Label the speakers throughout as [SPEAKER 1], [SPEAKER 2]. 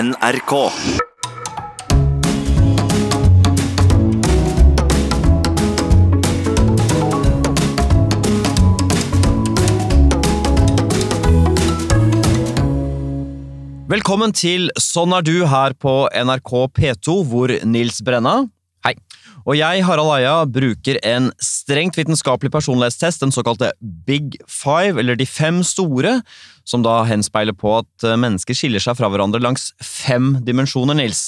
[SPEAKER 1] NRK.
[SPEAKER 2] Velkommen til Sånn er du her på NRK P2, hvor Nils Brenna Hei. Og jeg, Harald Eia, bruker en strengt vitenskapelig personlighetstest, den såkalte Big Five, eller De fem store, som da henspeiler på at eh, mennesker skiller seg fra hverandre langs fem dimensjoner, Nils.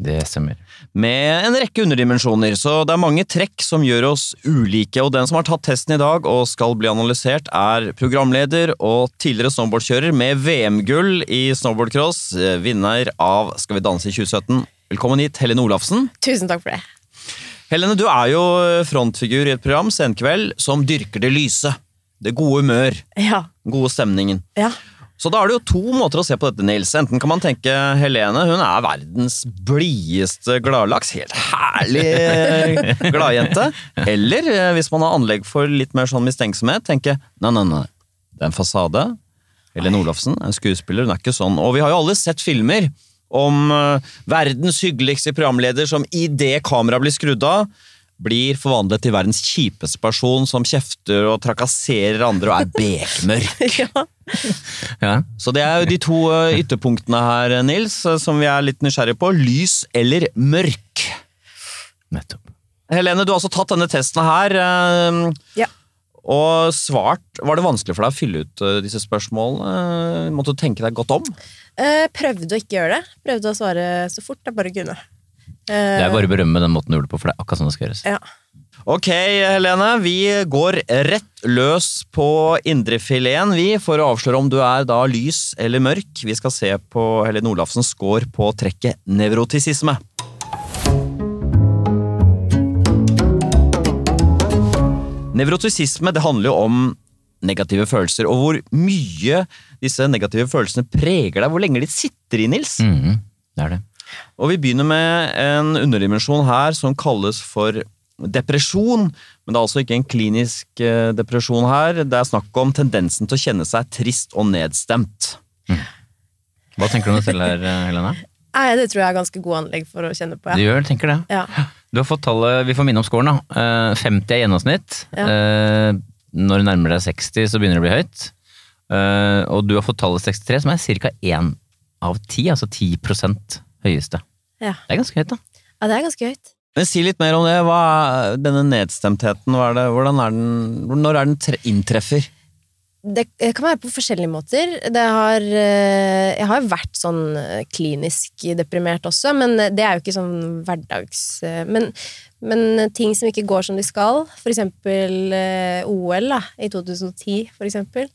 [SPEAKER 3] Det stemmer.
[SPEAKER 2] Med en rekke underdimensjoner, så det er mange trekk som gjør oss ulike, og den som har tatt testen i dag og skal bli analysert, er programleder og tidligere snowboardkjører med VM-gull i snowboardcross, eh, vinner av Skal vi danse i 2017. Velkommen hit, Helene Olafsen.
[SPEAKER 4] Tusen takk for det.
[SPEAKER 2] Helene, du er jo eh, frontfigur i et program, Senkveld, som dyrker det lyse. Det gode humør,
[SPEAKER 4] Ja.
[SPEAKER 2] den gode stemningen.
[SPEAKER 4] ja.
[SPEAKER 2] Så da er det jo to måter å se på dette, Nils. Enten kan man tenke Helene, hun er verdens blideste gladlaks. Helt herlig eh, gladjente. Eller eh, hvis man har anlegg for litt mer sånn mistenksomhet, tenke nei, nei, nei. Det er en fasade. Helene Olafsen er en skuespiller, hun er ikke sånn. Og vi har jo alle sett filmer om eh, verdens hyggeligste programleder som idet kameraet blir skrudd av, blir forvandlet til verdens kjipeste person som kjefter og trakasserer andre og er bekmørk.
[SPEAKER 4] ja.
[SPEAKER 3] Ja.
[SPEAKER 2] Så det er jo de to eh, ytterpunktene her, eh, Nils, eh, som vi er litt nysgjerrige på. Lys eller mørk?
[SPEAKER 3] Nettopp.
[SPEAKER 2] Helene, du har altså tatt denne testen her, eh,
[SPEAKER 4] Ja.
[SPEAKER 2] og svart. Var det vanskelig for deg å fylle ut eh, disse spørsmålene? Eh, Måtte du tenke deg godt om?
[SPEAKER 4] Eh, prøvde å ikke gjøre det. Prøvde å svare så fort jeg bare kunne. Eh,
[SPEAKER 3] Det er bare å berømme den måten du gjorde det på, for det er akkurat sånn det skal gjøres.
[SPEAKER 4] Ja.
[SPEAKER 2] Ok, Helene, vi går rett løs på indrefileten, vi, for å avsløre om du er da lys eller mørk. Vi skal se på Helene Olafsens score på trekket nevrotisisme. Nevrotisisme det handler jo om negative følelser, og hvor mye disse negative følelsene preger deg. Hvor lenge de sitter i, Nils.
[SPEAKER 3] Mhm, Det er det.
[SPEAKER 2] Og vi begynner med en underdimensjon her som kalles for depresjon. Men det er altså ikke en klinisk eh, depresjon her. Det er snakk om tendensen til å kjenne seg trist og nedstemt.
[SPEAKER 3] Hva tenker du om deg selv her, Helene?
[SPEAKER 4] Nei, det tror jeg er ganske god anlegg for å kjenne på.
[SPEAKER 3] Du
[SPEAKER 4] Ja.
[SPEAKER 3] gjør, tenker det.
[SPEAKER 4] Ja.
[SPEAKER 3] Du har fått tallet, Vi får minne om scoren. da. Eh, 50 er gjennomsnitt.
[SPEAKER 4] Ja.
[SPEAKER 3] Eh, Når du nærmer deg 60, så begynner det å bli høyt. Eh, Og du har fått tallet 63, som er ca. 1 av 10. Altså 10 høyeste.
[SPEAKER 4] Ja.
[SPEAKER 3] Det er ganske høyt, da.
[SPEAKER 4] ja, det er ganske høyt.
[SPEAKER 2] Men Si litt mer om det. Hva er denne nedstemtheten? Hva er det, hvordan er den, når er den tre, inntreffer?
[SPEAKER 4] Det eh, kan være på forskjellige måter. Det har, eh, jeg har vært sånn eh, klinisk deprimert også, men eh, det er jo ikke sånn hverdags... eh, Men, men ting som ikke går som de skal, for eksempel eh, OL da, i 2010, for eksempel.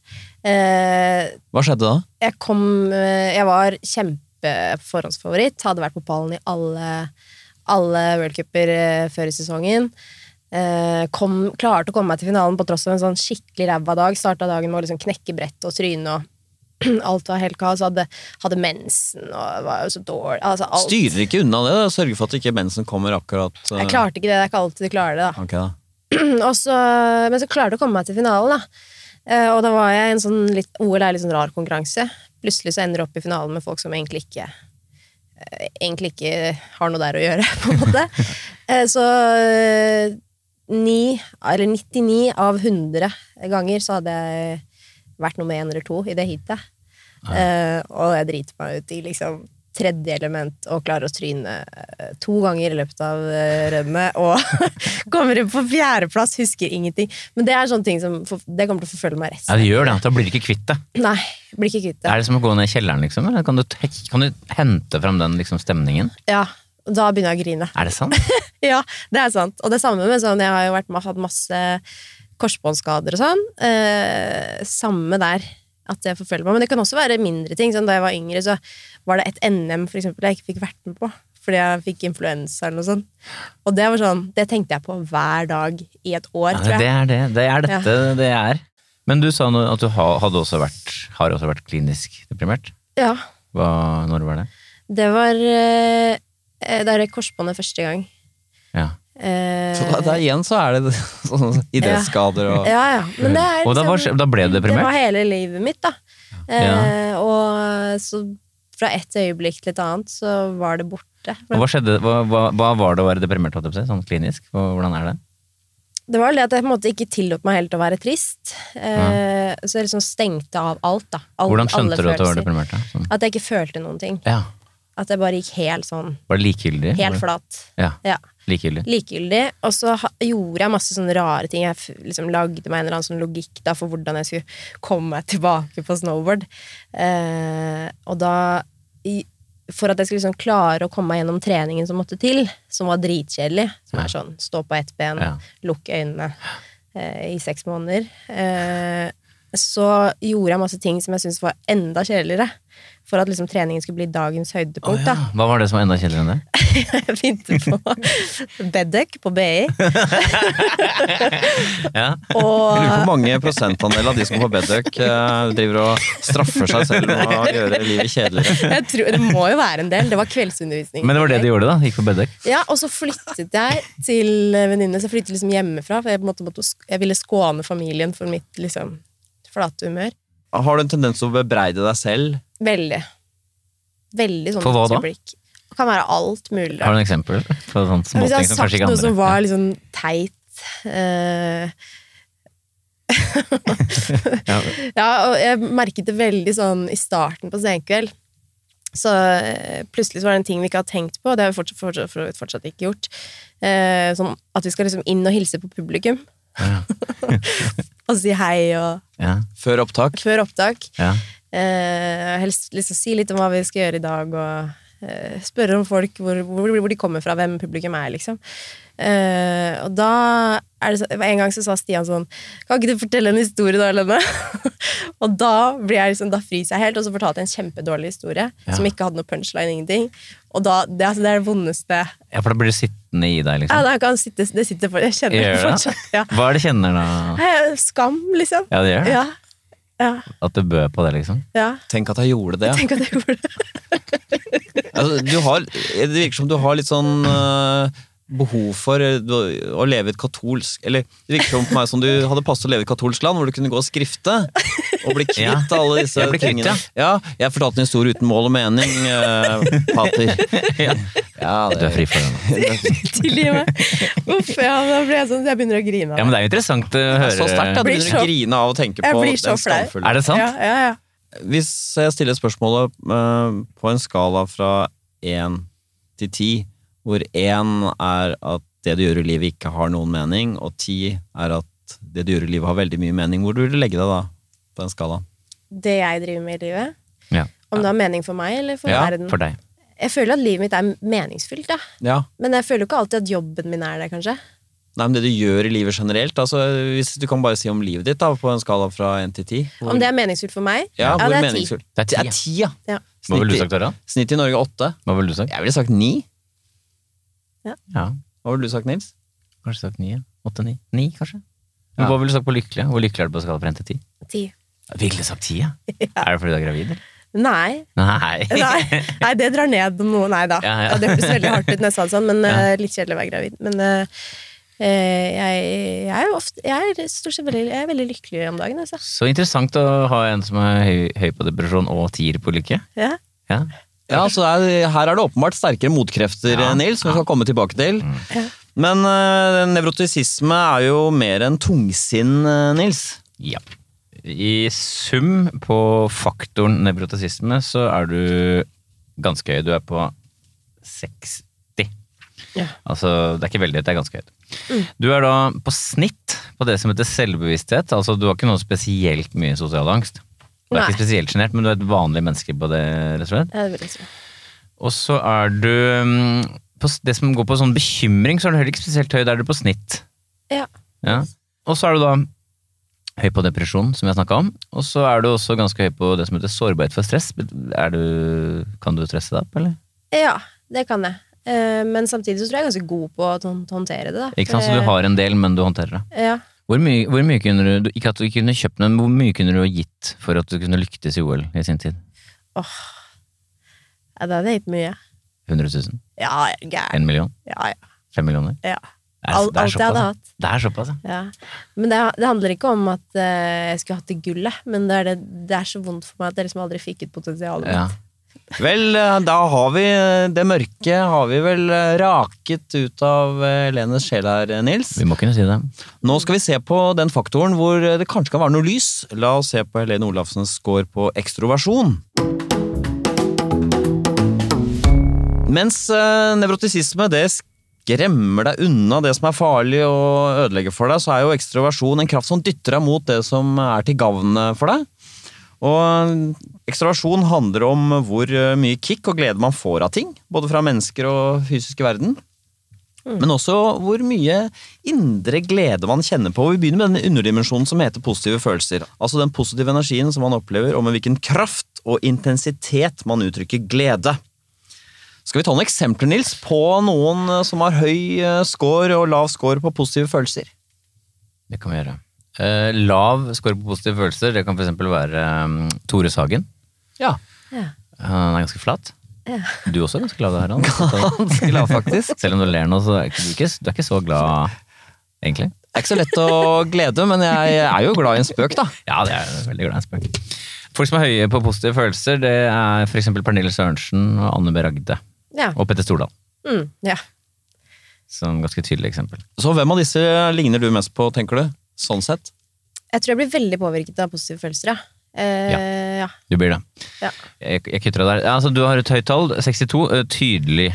[SPEAKER 4] Eh,
[SPEAKER 2] Hva skjedde da?
[SPEAKER 4] jeg kom eh, Jeg var kjempeforhåndsfavoritt. Hadde vært på pallen i alle, alle worldcuper eh, før i sesongen. Eh, Kom, klarte å komme meg til finalen på tross av en sånn skikkelig ræva dag. Starta dagen med å liksom knekke brett og tryne og alt var helt kaos. Hadde, hadde mensen og var jo så dårlig. Altså alt.
[SPEAKER 2] Styrer ikke unna det? da. Sørger for at ikke mensen kommer akkurat eh,
[SPEAKER 4] Jeg klarte ikke det. Det er ikke alltid du klarer det, da.
[SPEAKER 2] ok da.
[SPEAKER 4] og så, men så klarte jeg å komme meg til finalen, da. Eh, Og da var jeg i en sånn litt OL er litt sånn rar konkurranse. Plutselig så ender du opp i finalen med folk som egentlig ikke eh, Egentlig ikke har noe der å gjøre, på en måte. Eh, Så eh, ni, eller 99 av 100 ganger så hadde jeg vært nummer én eller to i det heatet. Eh, og jeg driter meg ut i liksom tredje element og klarer å tryne eh, to ganger i løpet av eh, rennet. Og kommer inn på fjerdeplass, husker ingenting. Men det er sånne ting som for, det kommer til å forfølge meg
[SPEAKER 3] Ja,
[SPEAKER 4] resten.
[SPEAKER 3] det gjør det. Da blir du ikke kvitt det.
[SPEAKER 4] Nei, blir ikke kvitt det.
[SPEAKER 3] Er det som å gå ned i kjelleren, liksom? Eller kan du, tek- kan du hente fram den liksom, stemningen?
[SPEAKER 4] Ja, da begynner jeg å grine.
[SPEAKER 3] Er det sant?
[SPEAKER 4] Ja, det er sant. Og det samme med sånn, jeg har jo vært, hatt masse korsbåndskader og sånn. Eh, samme der, at det forfølger meg. Men det kan også være mindre ting. Sånn, da jeg var yngre, så var det et NM for eksempel, jeg ikke fikk vært med på. Fordi jeg fikk influensa eller noe sånt. Og det var sånn, det tenkte jeg på hver dag i et år,
[SPEAKER 3] Ja,
[SPEAKER 4] tror
[SPEAKER 3] det
[SPEAKER 4] jeg.
[SPEAKER 3] er det. Det er dette det er. Men du sa nå at du ha- hadde også vært, har også vært klinisk deprimert.
[SPEAKER 4] Ja,
[SPEAKER 3] Hva, når var det?
[SPEAKER 4] det var eh, eh, Da røk korsbåndet første gang.
[SPEAKER 3] Ja.
[SPEAKER 4] Eh,
[SPEAKER 2] Så da, da igjen så er det sånne idrettsskader og
[SPEAKER 4] ja, ja. Men det er
[SPEAKER 3] Og da, var,
[SPEAKER 4] liksom-
[SPEAKER 3] da ble du
[SPEAKER 4] Det var
[SPEAKER 3] deprimert?
[SPEAKER 4] hele livet mitt, da. Eh, og så fra et øyeblikk til et annet så var det borte.
[SPEAKER 3] Og hva, skjedde, hva, hva, hva var det å være deprimert, holdt jeg på å si, sånn klinisk? Hva- Hvordan er det?
[SPEAKER 4] Det var vel det at jeg på en måte ikke tillot meg helt å være trist. Eh, Så jeg liksom stengte av alt, da. Alt,
[SPEAKER 3] Hvordan
[SPEAKER 4] alle
[SPEAKER 3] skjønte du at du var
[SPEAKER 4] følelser.
[SPEAKER 3] deprimert? Da? Sånn.
[SPEAKER 4] At jeg ikke følte noen ting.
[SPEAKER 3] Ja.
[SPEAKER 4] At jeg bare gikk helt sånn,
[SPEAKER 3] Var det likegyldig?
[SPEAKER 4] helt flat.
[SPEAKER 3] Ja,
[SPEAKER 4] Ja.
[SPEAKER 3] likegyldig.
[SPEAKER 4] Likegyldig. Og så ha- gjorde jeg masse sånne rare ting. Jeg f- liksom lagde meg en eller annen sånn logikk da, for hvordan jeg skulle komme meg tilbake på snowboard. Eh, og da i- For at jeg skulle liksom klare å komme meg gjennom treningen som måtte til, som var dritkjedelig, som er sånn stå på ett ben,
[SPEAKER 3] Ja.
[SPEAKER 4] lukke øynene eh, i seks måneder, eh, så gjorde jeg masse ting som jeg syntes var enda kjedeligere. For at liksom treningen skulle bli dagens høydepunkt. da
[SPEAKER 3] Hva var det som var enda kjedeligere enn det?
[SPEAKER 4] jeg begynte på Bedek på BI.
[SPEAKER 3] Ja.
[SPEAKER 2] Jeg lurer på
[SPEAKER 4] Og
[SPEAKER 2] hvor mange prosentandel av de som går på Bedøk eh, driver og straffer seg selv med å gjøre livet kjedeligere.
[SPEAKER 4] jeg tror, det må jo være en del. Det var kveldsundervisning.
[SPEAKER 3] Men det var det de gjorde, da? Gikk på Bedøk?
[SPEAKER 4] Ja, Og så flyttet jeg til venninne. Så jeg flyttet liksom hjemmefra, for jeg, på en måte, måtte, sk- jeg ville skåne familien for mitt liksom, flate humør.
[SPEAKER 2] Har du en tendens til å bebreide deg selv?
[SPEAKER 4] Veldig. Veldig sånn
[SPEAKER 3] For hva da?
[SPEAKER 4] tilbakeblikk. Det kan være alt mulig.
[SPEAKER 3] Har du en eksempel på sånt
[SPEAKER 4] Hvis
[SPEAKER 3] småting
[SPEAKER 4] jeg har
[SPEAKER 3] som
[SPEAKER 4] sagt
[SPEAKER 3] kanskje ikke
[SPEAKER 4] noe
[SPEAKER 3] andre
[SPEAKER 4] som var liksom teit eh,
[SPEAKER 3] ja.
[SPEAKER 4] Ja, og jeg merket det veldig sånn i starten på Senkveld. Så eh, plutselig så var det en ting vi ikke hadde tenkt på, og det har vi fortsatt, fortsatt, for så vidt fortsatt ikke gjort. Eh, sånn at vi skal liksom inn og hilse på publikum. og si hei og
[SPEAKER 3] Ja,
[SPEAKER 2] Før opptak?
[SPEAKER 4] før opptak.
[SPEAKER 3] ja,
[SPEAKER 4] Eh, helst liksom si litt om hva vi skal gjøre i dag, og eh, spørre om folk hvor, hvor, hvor de kommer fra, hvem publikum er, liksom. Eh, og da er det så, En gang så sa Stian sånn Kan ikke du fortelle en historie, da, Lenne? og da blir jeg liksom, da fryser jeg helt, og så fortalte jeg en kjempedårlig historie
[SPEAKER 3] Ja.
[SPEAKER 4] som ikke hadde noe punchline, ingenting. Og da, det, altså, det er det vondeste ja,
[SPEAKER 3] ja, for da blir det sittende i deg, liksom.
[SPEAKER 4] det, kan sitte, det sitter for, Jeg kjenner det
[SPEAKER 3] Gjør det?
[SPEAKER 4] fortsatt. Ja.
[SPEAKER 3] Hva er det kjenner da?
[SPEAKER 4] Hei, Skam, liksom.
[SPEAKER 3] Ja, det gjør det.
[SPEAKER 4] Ja. Ja.
[SPEAKER 3] At du bød på det, liksom.
[SPEAKER 4] ja.
[SPEAKER 2] Tenk at jeg gjorde det.
[SPEAKER 4] Tenk at jeg gjorde det.
[SPEAKER 2] Altså, du har, det virker som du har litt sånn øh, behov for øh, å leve i et katolsk Eller det virker som på meg som du hadde passet å leve i et katolsk land, hvor du kunne gå og skrifte. Og bli kvitt
[SPEAKER 3] Ja.
[SPEAKER 2] alle disse
[SPEAKER 3] Ja, bli kvitt,
[SPEAKER 2] tingene. Ja. jeg fortalte en historie uten mål og mening, øh, pater.
[SPEAKER 3] Ja.
[SPEAKER 2] Ja,
[SPEAKER 3] Du er fri for det nå.
[SPEAKER 4] Tilgi meg. Uff, ja, da ble jeg sånn Jeg begynner å grine. av
[SPEAKER 3] Ja, men det er jo interessant å høre.
[SPEAKER 2] Så sterkt at du
[SPEAKER 4] Blir
[SPEAKER 2] begynner å
[SPEAKER 4] så-
[SPEAKER 2] grine av å tenke
[SPEAKER 4] Jeg
[SPEAKER 2] på
[SPEAKER 4] blir så
[SPEAKER 2] den
[SPEAKER 4] flau.
[SPEAKER 2] skamfulle.
[SPEAKER 3] Er det sant?
[SPEAKER 4] Ja, ja, ja.
[SPEAKER 2] Hvis jeg stiller spørsmålet eh, på en skala fra én til ti, hvor én er at det du gjør i livet ikke har noen mening, og ti er at det du gjør i livet har veldig mye mening, hvor du vil legge deg da? På den skalaen.
[SPEAKER 4] Det jeg driver med i livet.
[SPEAKER 3] Ja.
[SPEAKER 4] Om det har mening for meg eller for
[SPEAKER 2] Ja,
[SPEAKER 4] verden.
[SPEAKER 3] For deg.
[SPEAKER 4] Jeg føler at livet mitt er meningsfylt, da.
[SPEAKER 2] Ja.
[SPEAKER 4] Men jeg føler jo ikke alltid at jobben min er det, kanskje.
[SPEAKER 2] Nei, men Det du gjør i livet generelt, altså hvis du kan bare si om livet ditt da, på en skala fra én til ti. hvor-
[SPEAKER 4] Om det er meningsfylt for meg?
[SPEAKER 2] ja, hvor
[SPEAKER 4] det er
[SPEAKER 2] meningsfullt-
[SPEAKER 3] Det er ti,
[SPEAKER 2] Det er ti, ja.
[SPEAKER 4] Ja.
[SPEAKER 3] Hva ville du
[SPEAKER 2] Snitt,
[SPEAKER 3] sagt, Harald?
[SPEAKER 2] i- snitt i Norge åtte.
[SPEAKER 3] Hva ville du sagt?
[SPEAKER 2] Jeg ville sagt ni.
[SPEAKER 3] Ja,
[SPEAKER 2] Hva ville du sagt, Nils?
[SPEAKER 3] kanskje sagt ni. ja. Åtte, ni. Ni, kanskje. Men
[SPEAKER 2] Ja.
[SPEAKER 3] Hva ville du sagt på lykkelig? Hvor lykkelig er du på skala fra en til ti?
[SPEAKER 4] Ti.
[SPEAKER 3] Jeg Ville sagt ti, ja. Er det fordi du er gravid? eller?
[SPEAKER 4] Nei.
[SPEAKER 3] Nei.
[SPEAKER 4] Nei. Nei, det drar ned om noe. Nei da.
[SPEAKER 3] Ja, ja.
[SPEAKER 4] Det hørtes veldig hardt ut når jeg sa det sånn, men
[SPEAKER 3] Ja.
[SPEAKER 4] eh, litt kjedelig å være gravid. Men eh, eh, jeg, jeg er jo ofte Jeg er stort sett veldig, jeg er veldig lykkelig om dagen, altså.
[SPEAKER 3] Så interessant å ha en som er høy, høy på depresjon og tier på lykke.
[SPEAKER 4] Ja.
[SPEAKER 3] Ja.
[SPEAKER 2] Ja, så er, Her er det åpenbart sterkere motkrefter,
[SPEAKER 3] Ja.
[SPEAKER 2] Nils, som vi skal komme tilbake til.
[SPEAKER 4] Ja.
[SPEAKER 2] Men eh, nevrotisisme er jo mer enn tungsinn, eh, Nils.
[SPEAKER 3] ja. I sum på faktoren nevrotisisme så er du ganske høy. Du er på 60.
[SPEAKER 4] Ja.
[SPEAKER 3] Altså, det er ikke veldig høyt, det er ganske høyt.
[SPEAKER 4] Mm.
[SPEAKER 3] Du er da på snitt på det som heter selvbevissthet. Altså, du har ikke noe spesielt mye sosial angst. Du er
[SPEAKER 4] Nei.
[SPEAKER 3] ikke spesielt sjenert, men du er et vanlig menneske på det, rett og slett.
[SPEAKER 4] Det er veldig sånn.
[SPEAKER 3] Og så er du mm, på s- Det som går på sånn bekymring, så er du heller ikke spesielt høy. Da er du på snitt.
[SPEAKER 4] Ja.
[SPEAKER 3] Ja. Og så er du da høy på depresjon, som vi har snakka om. Og så er du også ganske høy på det som heter sårbarhet for stress. Er du, kan du stresse deg opp, eller?
[SPEAKER 4] Ja, det kan jeg. Eh, Men samtidig så tror jeg jeg er ganske god på å hånd- håndtere det. Da.
[SPEAKER 3] Ikke sant?
[SPEAKER 4] Eh.
[SPEAKER 3] Så du har en del, men du håndterer det.
[SPEAKER 4] Ja.
[SPEAKER 3] Hvor mye, hvor mye kunne du, du Ikke at du ikke kunne kjøpt, men hvor mye kunne du ha gitt for at du kunne lyktes i OL i sin tid?
[SPEAKER 4] Åh. Ja, det hadde jeg gitt mye.
[SPEAKER 3] 100 000?
[SPEAKER 4] Ja, jeg er gæren.
[SPEAKER 3] 1 million?
[SPEAKER 4] Ja, ja.
[SPEAKER 3] 5 millioner?
[SPEAKER 4] ja.
[SPEAKER 3] Det er,
[SPEAKER 4] Alt,
[SPEAKER 3] det er
[SPEAKER 4] alt jeg hadde
[SPEAKER 3] såpass.
[SPEAKER 4] hatt.
[SPEAKER 3] ja. Det er såpass, ja.
[SPEAKER 4] Ja. Men det, det handler ikke om at eh, jeg skulle hatt det gullet, men det er, det, det er så vondt for meg at jeg liksom aldri fikk ut potensialet mitt.
[SPEAKER 3] ja.
[SPEAKER 2] Vel, eh, da har vi eh, det mørke har vi vel eh, raket ut av eh, Helenes sjel her, eh, Nils.
[SPEAKER 3] Vi må kunne si det.
[SPEAKER 2] Nå skal vi se på den faktoren hvor eh, det kanskje kan være noe lys. La oss se på Helene Olafsens score på ekstroversjon. Mens eh, nevrotisisme det skremmer deg unna det som er farlig og ødelegger for deg, så er jo ekstroversjon en kraft som dytter deg mot det som er til gavn for deg. Og eh, ekstroversjon handler om hvor eh, mye kick og glede man får av ting, både fra mennesker og fysiske verden. Men også hvor mye indre glede man kjenner på. Og Vi begynner med den underdimensjonen som heter positive følelser. Altså den positive energien som man opplever, og med hvilken kraft og intensitet man uttrykker glede. Skal vi ta noen eksempler, Nils, på noen eh, som har høy eh, score og lav score på positive følelser?
[SPEAKER 3] Det kan vi gjøre. Eh, lav score på positive følelser, det kan f.eks. være eh, Tore Sagen.
[SPEAKER 2] Ja.
[SPEAKER 4] Ja.
[SPEAKER 3] Han er ganske flat.
[SPEAKER 4] Ja.
[SPEAKER 3] Du også er ganske glad der, Harald.
[SPEAKER 2] Ganske lav, faktisk.
[SPEAKER 3] Selv om du ler nå, så er ikke du, ikke, du er ikke så glad, egentlig.
[SPEAKER 2] Det er ikke så lett å glede, men jeg er jo glad i en spøk, da.
[SPEAKER 3] Ja, det er jeg veldig glad i en spøk. Folk som er høye på positive følelser, det er f.eks. Pernille Sørensen og Anne B. Ragde.
[SPEAKER 4] Ja.
[SPEAKER 3] Og Petter Stordal,
[SPEAKER 4] Mm, ja.
[SPEAKER 3] som ganske tydelig eksempel.
[SPEAKER 2] Så hvem av disse ligner du mest på, tenker du? Sånn sett?
[SPEAKER 4] Jeg tror jeg blir veldig påvirket av positive følelser, ja. Eh, ja. ja.
[SPEAKER 3] Du blir det.
[SPEAKER 4] Ja.
[SPEAKER 3] Jeg, jeg kutter av der. Ja, Altså, du har et høyt tall, 62. eh, Tydelig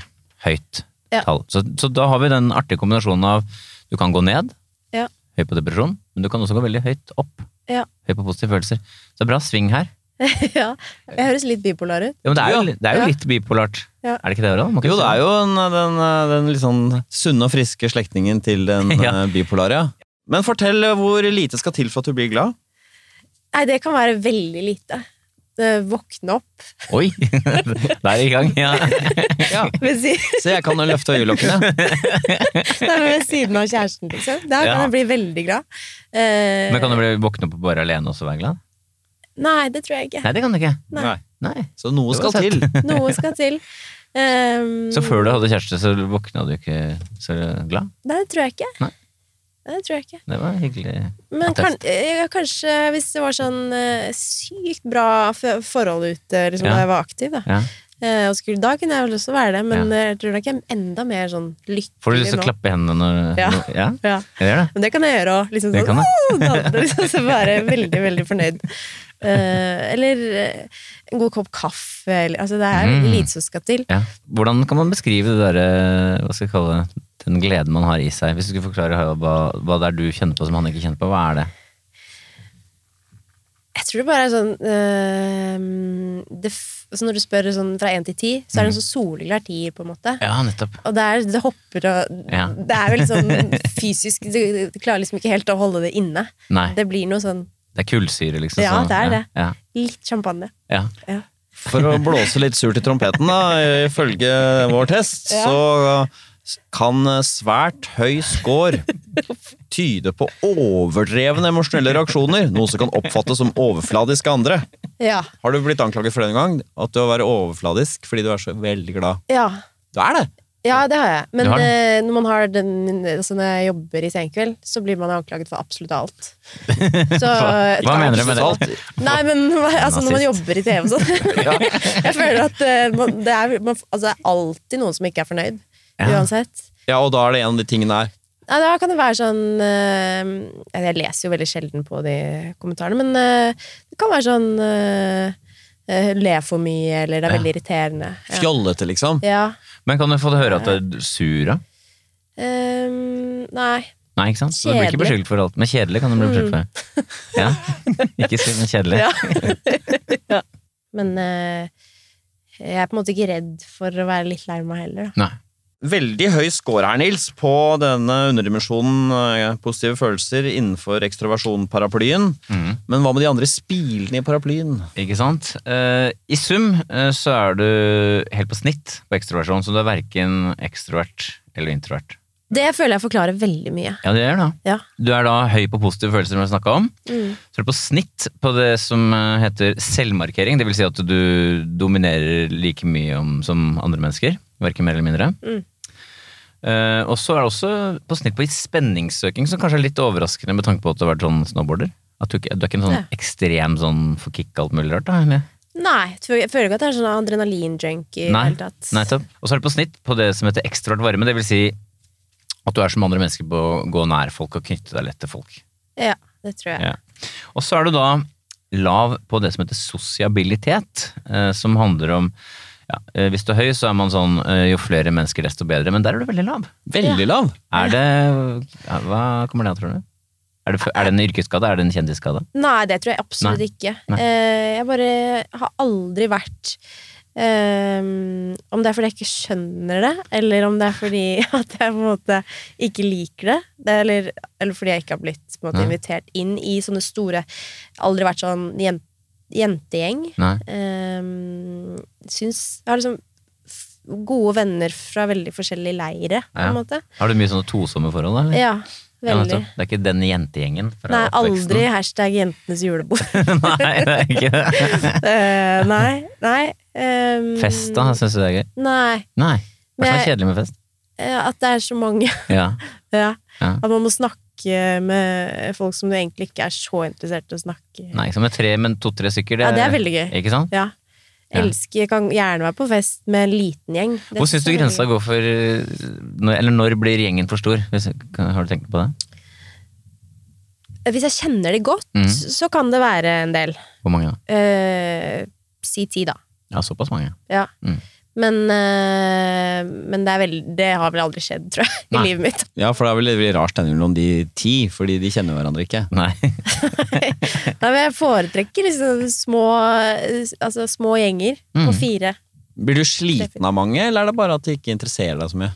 [SPEAKER 3] høyt
[SPEAKER 4] Ja.
[SPEAKER 3] tall. Så, så da har vi den artige kombinasjonen av du kan gå ned,
[SPEAKER 4] Ja.
[SPEAKER 3] høy på depresjon, men du kan også gå veldig høyt opp.
[SPEAKER 4] Ja.
[SPEAKER 3] Høy på positive følelser. Så det er bra sving her.
[SPEAKER 4] Jeg høres litt bipolar ut.
[SPEAKER 3] Ja, men det er jo,
[SPEAKER 2] Ja.
[SPEAKER 3] det er jo
[SPEAKER 4] Ja.
[SPEAKER 3] litt bipolart.
[SPEAKER 4] Ja.
[SPEAKER 3] Er det ikke det, Harald? Man kan
[SPEAKER 2] Jo,
[SPEAKER 3] ikke
[SPEAKER 2] det
[SPEAKER 3] si
[SPEAKER 2] er jo den, den, den litt sånn sunne og friske slektningen til den
[SPEAKER 3] Ja.
[SPEAKER 2] eh, bipolare. ja. Men fortell eh, hvor lite skal til for at du blir glad.
[SPEAKER 4] Nei, det kan være veldig lite. Eh, Våkne opp.
[SPEAKER 3] Oi! Der er vi i gang. Ja.
[SPEAKER 4] Ved si-
[SPEAKER 2] Så jeg kan jo løfte øyelokkene.
[SPEAKER 4] Nei, men ved siden av kjæresten, liksom. Der
[SPEAKER 3] Ja.
[SPEAKER 4] kan jeg bli veldig glad. Eh,
[SPEAKER 3] Men kan du bli våkne opp og bare alene også være glad?
[SPEAKER 4] Nei, det tror jeg ikke.
[SPEAKER 3] Nei, det kan du ikke.
[SPEAKER 4] Nei.
[SPEAKER 3] Nei.
[SPEAKER 2] Så noe
[SPEAKER 3] Det var
[SPEAKER 2] skal til.
[SPEAKER 4] Noe skal til. Um,
[SPEAKER 3] Så før du hadde kjæreste, så våkna du ikke så glad?
[SPEAKER 4] Eh, Nei, det tror jeg ikke.
[SPEAKER 3] Nei.
[SPEAKER 4] Nei, Det tror jeg ikke.
[SPEAKER 3] Det var hyggelig.
[SPEAKER 4] Men kan,
[SPEAKER 3] Attest.
[SPEAKER 4] eh, kanskje hvis det var sånn eh, sykt bra f- forhold ute liksom,
[SPEAKER 3] Ja.
[SPEAKER 4] da jeg var aktiv, da.
[SPEAKER 3] Ja.
[SPEAKER 4] Eh, og skulle, da kunne jeg vel også være det, men eh, jeg tror nok jeg er enda mer sånn lykkelig
[SPEAKER 3] Får du lyst til å
[SPEAKER 4] nå.
[SPEAKER 3] klappe i hendene når
[SPEAKER 4] Ja.
[SPEAKER 3] når- ja.
[SPEAKER 4] Ja.
[SPEAKER 3] Jeg gjør det.
[SPEAKER 4] Men det kan jeg gjøre òg. Liksom,
[SPEAKER 3] Det
[SPEAKER 4] sånn,
[SPEAKER 3] kan
[SPEAKER 4] «Wow!» da- da liksom, så bare veldig, veldig fornøyd. Eh, eller eh, en god kopp kaffe. Eller, altså, det er
[SPEAKER 3] Mm.
[SPEAKER 4] lite som skal til.
[SPEAKER 3] Ja. Hvordan kan man beskrive det derre Hva skal jeg kalle det? Den gleden man har i seg. Hvis du skulle forklare Harald, hva, hva det er du kjenner på som han ikke kjenner på, hva er det?
[SPEAKER 4] Jeg tror det bare er sånn eh, det, f- altså Når du spør sånn fra én til ti, så er
[SPEAKER 3] Mm.
[SPEAKER 4] det en sånn soleklar tier, på en måte.
[SPEAKER 3] Ja, nettopp.
[SPEAKER 4] Og det, er, det hopper og
[SPEAKER 3] Ja.
[SPEAKER 4] Det er jo litt sånn fysisk Du, du klarer liksom ikke helt å holde det inne.
[SPEAKER 3] Nei.
[SPEAKER 4] Det blir noe sånn
[SPEAKER 3] Det er kullsyre, liksom.
[SPEAKER 4] Ja,
[SPEAKER 3] så-
[SPEAKER 4] det er det.
[SPEAKER 3] Ja.
[SPEAKER 4] litt champagne.
[SPEAKER 3] Ja.
[SPEAKER 4] Ja.
[SPEAKER 2] For å blåse litt surt i trompeten, da, ifølge vår test,
[SPEAKER 4] Ja.
[SPEAKER 2] så eh, kan svært høy score tyde på overdrevne emosjonelle reaksjoner, noe som kan oppfattes som overfladisk av andre.
[SPEAKER 4] Ja.
[SPEAKER 2] Har du blitt anklaget for det en gang? At du har vært overfladisk fordi du er så veldig glad?
[SPEAKER 4] ja.
[SPEAKER 2] Du er det!
[SPEAKER 4] Ja, det har jeg. Men
[SPEAKER 3] Du har
[SPEAKER 4] eh, når man har den, altså når jeg jobber i senkveld, så blir man anklaget for absolutt alt. Så, eh,
[SPEAKER 3] Hva- hva mener du med det?
[SPEAKER 2] Absolutt alt.
[SPEAKER 4] Nei, men altså, når man
[SPEAKER 3] Nazist.
[SPEAKER 4] jobber i TV og sånn. Jeg føler at eh, man, det, er, man, altså, det er alltid noen som ikke er fornøyd.
[SPEAKER 3] Ja.
[SPEAKER 4] Uansett.
[SPEAKER 2] Ja, og da er det en av de tingene her.
[SPEAKER 4] Ja, da kan det være sånn eh, Jeg leser jo veldig sjelden på de kommentarene, men eh, det kan være sånn eh, eh, Le for mye, eller det er
[SPEAKER 3] Ja.
[SPEAKER 4] veldig irriterende. Ja.
[SPEAKER 2] Fjollete, liksom.
[SPEAKER 4] ja.
[SPEAKER 3] Men kan du få høre at du er sur, da?
[SPEAKER 4] Ehm, nei.
[SPEAKER 3] Nei, ikke sant? Så du blir ikke
[SPEAKER 4] Kjedelig. Mm.
[SPEAKER 3] beskyldt for alt. Men kjedelig kan du bli beskyldt for. Ja. Ikke sur, men kjedelig.
[SPEAKER 4] Ja. ja. Men eh, jeg er på en måte ikke redd for å være litt lei meg heller. Da.
[SPEAKER 3] Nei.
[SPEAKER 2] Veldig høy score her, Nils, på denne underdimensjonen eh, positive følelser innenfor ekstroversjon-paraplyen.
[SPEAKER 3] Mhm.
[SPEAKER 2] Men hva med de andre spilene i paraplyen?
[SPEAKER 3] Ikke sant? Eh, I sum eh, så er du helt på snitt på ekstroversjon, så du er verken ekstrovert eller introvert.
[SPEAKER 4] Det føler jeg forklarer veldig mye.
[SPEAKER 3] Ja, det gjør det.
[SPEAKER 4] Ja.
[SPEAKER 3] Du er da høy på positive følelser, som vi snakka om.
[SPEAKER 4] Mm.
[SPEAKER 3] Så er du på snitt på det som eh, heter selvmarkering. Det vil si at du dominerer like mye om, som andre mennesker. Verken mer eller mindre.
[SPEAKER 4] Mm.
[SPEAKER 3] Eh, og så er det også på snitt på spenningssøking, som kanskje er litt overraskende med tanke på at du har vært sånn snowboarder. At du, ikke, du er ikke en sånn
[SPEAKER 4] Ja.
[SPEAKER 3] ekstrem sånn for kick alt mulig rart, da? Eller?
[SPEAKER 4] Nei, jeg tror- jeg føler ikke at det er sånn adrenalin-junkie i det
[SPEAKER 3] Nei,
[SPEAKER 4] hele tatt.
[SPEAKER 3] nettopp. Og så er det på snitt på det som heter ekstrovert varme. Det vil si at du er som andre mennesker på å gå nær folk og knytte deg lett til folk.
[SPEAKER 4] Ja, det tror jeg.
[SPEAKER 3] Ja. Og så er du da lav på det som heter sosiabilitet, eh, som handler om ja, eh, Hvis du er høy, så er man sånn eh, jo flere mennesker, desto bedre. Men der er du veldig lav.
[SPEAKER 2] Veldig lav.
[SPEAKER 3] Er det ja, Hva kommer det av, tror du? Er det, er det en yrkesskade? Er det en kjendisskade?
[SPEAKER 4] Nei, det tror jeg absolutt
[SPEAKER 3] Nei.
[SPEAKER 4] ikke.
[SPEAKER 3] Nei.
[SPEAKER 4] Eh, jeg bare har aldri vært eh, Om det er fordi jeg ikke skjønner det, eller om det er fordi at jeg på en måte ikke liker det, det er- eller, eller fordi jeg ikke har blitt på en måte,
[SPEAKER 3] Nei.
[SPEAKER 4] invitert inn i sånne store Aldri vært sånn jen- jentegjeng.
[SPEAKER 3] Nei.
[SPEAKER 4] Um, syns Jeg har liksom f- gode venner fra veldig forskjellige leire, på en
[SPEAKER 3] Ja.
[SPEAKER 4] måte.
[SPEAKER 3] Har du mye sånne tosomme forhold, da? eller?
[SPEAKER 4] Ja,
[SPEAKER 3] Ja,
[SPEAKER 4] veldig.
[SPEAKER 3] nettopp. det er ikke den jentegjengen fra
[SPEAKER 4] Nei,
[SPEAKER 3] oppveksten?
[SPEAKER 4] aldri hashtag jentenes julebord.
[SPEAKER 3] Nei, det er ikke det.
[SPEAKER 4] Eh, nei. nei um,
[SPEAKER 3] Fest, da? Syns du det er gøy?
[SPEAKER 4] Nei.
[SPEAKER 3] Nei. Hva som er
[SPEAKER 4] Men jeg-
[SPEAKER 3] kjedelig med fest?
[SPEAKER 4] eh, At det er så mange.
[SPEAKER 3] Ja.
[SPEAKER 4] ja.
[SPEAKER 3] Ja.
[SPEAKER 4] At man må snakke med folk som du egentlig ikke er så interessert i å snakke
[SPEAKER 3] Nei, ikke som med tre, men to-tre stykker.
[SPEAKER 4] Ja, det er veldig gøy.
[SPEAKER 3] Ikke sant?
[SPEAKER 4] Ja.
[SPEAKER 3] Ja.
[SPEAKER 4] Elsker, kan gjerne være på fest med en liten gjeng. Det
[SPEAKER 3] Hvor syns du
[SPEAKER 4] er veldig
[SPEAKER 3] grensa går for eh, når, Eller når blir gjengen for stor? Hvis, kan, har du tenkt på det?
[SPEAKER 4] gøy. Hvis jeg kjenner det godt,
[SPEAKER 3] Mhm.
[SPEAKER 4] så kan det være en del.
[SPEAKER 3] Hvor mange? da?
[SPEAKER 4] Eh, si ti, da.
[SPEAKER 3] Ja, såpass mange.
[SPEAKER 4] Ja.
[SPEAKER 3] Mm.
[SPEAKER 4] Men, eh, men det, er vel, det har vel aldri skjedd, tror jeg,
[SPEAKER 3] Nei.
[SPEAKER 4] i livet mitt.
[SPEAKER 2] Ja, for det er vel veldig rar stemning mellom de ti, fordi de kjenner hverandre ikke.
[SPEAKER 3] Nei.
[SPEAKER 4] Nei, men jeg foretrekker liksom små, eh, altså, små gjenger på
[SPEAKER 3] Mm.
[SPEAKER 4] fire.
[SPEAKER 2] Blir du sliten av mange, eller er det bare at de ikke interesserer deg så mye?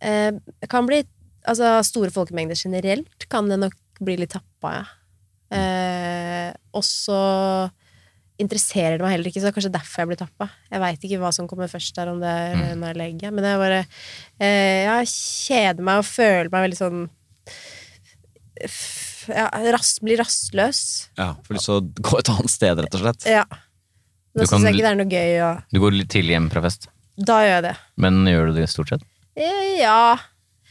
[SPEAKER 4] Eh, kan bli, altså, store folkemengder generelt kan det nok bli litt tappa, ja. Eh, og så interesserer det meg heller ikke, så det er kanskje derfor jeg blir tappa. Jeg veit ikke hva som kommer først der, om det er
[SPEAKER 3] Mm.
[SPEAKER 4] en eller legge. Men jeg bare eh, ja, kjeder meg og føler meg veldig sånn f- ja, ras, Blir rastløs.
[SPEAKER 2] Ja, for lyst til å gå et annet sted, rett og slett.
[SPEAKER 4] Ja.
[SPEAKER 3] Du
[SPEAKER 4] Da
[SPEAKER 3] kan
[SPEAKER 4] syns jeg
[SPEAKER 3] bli-
[SPEAKER 4] ikke det er noe gøy, og
[SPEAKER 3] Du går litt tidlig hjem fra fest,
[SPEAKER 4] da gjør jeg det.
[SPEAKER 3] men gjør du det stort sett?
[SPEAKER 4] Eh, Ja.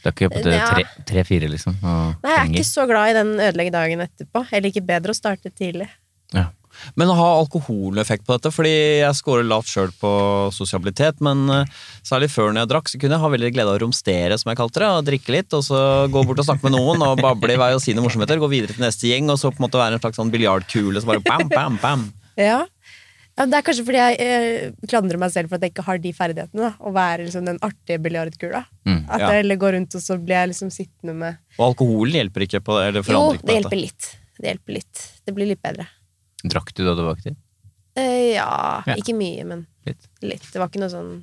[SPEAKER 3] Du er ikke på det
[SPEAKER 4] Ja.
[SPEAKER 3] tre- tre-fire, liksom? Og
[SPEAKER 4] Nei, jeg er
[SPEAKER 3] henger?
[SPEAKER 4] ikke så glad i den ødelegge dagen etterpå. Jeg liker bedre å starte tidlig.
[SPEAKER 3] ja.
[SPEAKER 2] Men har alkoholen effekt på dette? Fordi jeg scorer lavt sjøl på sosialitet, men eh, særlig før når jeg drakk, så kunne jeg ha veldig glede av å romstere, som jeg kalte det, og drikke litt, og så gå bort og snakke med noen, og bable i vei og si noen morsomheter, gå videre til neste gjeng, og så på en måte være en slags sånn biljardkule som bare bam, bam, bam.
[SPEAKER 4] Ja. Ja, men det er kanskje fordi jeg eh, klandrer meg selv for at jeg ikke har de ferdighetene. Da. Å være liksom, den artige biljardkula.
[SPEAKER 3] Mm,
[SPEAKER 4] At
[SPEAKER 2] ja.
[SPEAKER 4] jeg heller går rundt, og så blir jeg liksom sittende med
[SPEAKER 2] Og alkoholen hjelper ikke på eller
[SPEAKER 4] Jo,
[SPEAKER 2] forandrer ikke
[SPEAKER 4] det
[SPEAKER 2] på
[SPEAKER 4] hjelper litt. Det hjelper litt. Det blir litt bedre.
[SPEAKER 3] Drakk du da du var aktiv?
[SPEAKER 4] Eh, ja,
[SPEAKER 3] Ja.
[SPEAKER 4] ikke mye, men
[SPEAKER 3] Litt.
[SPEAKER 4] litt. Det var ikke noe sånn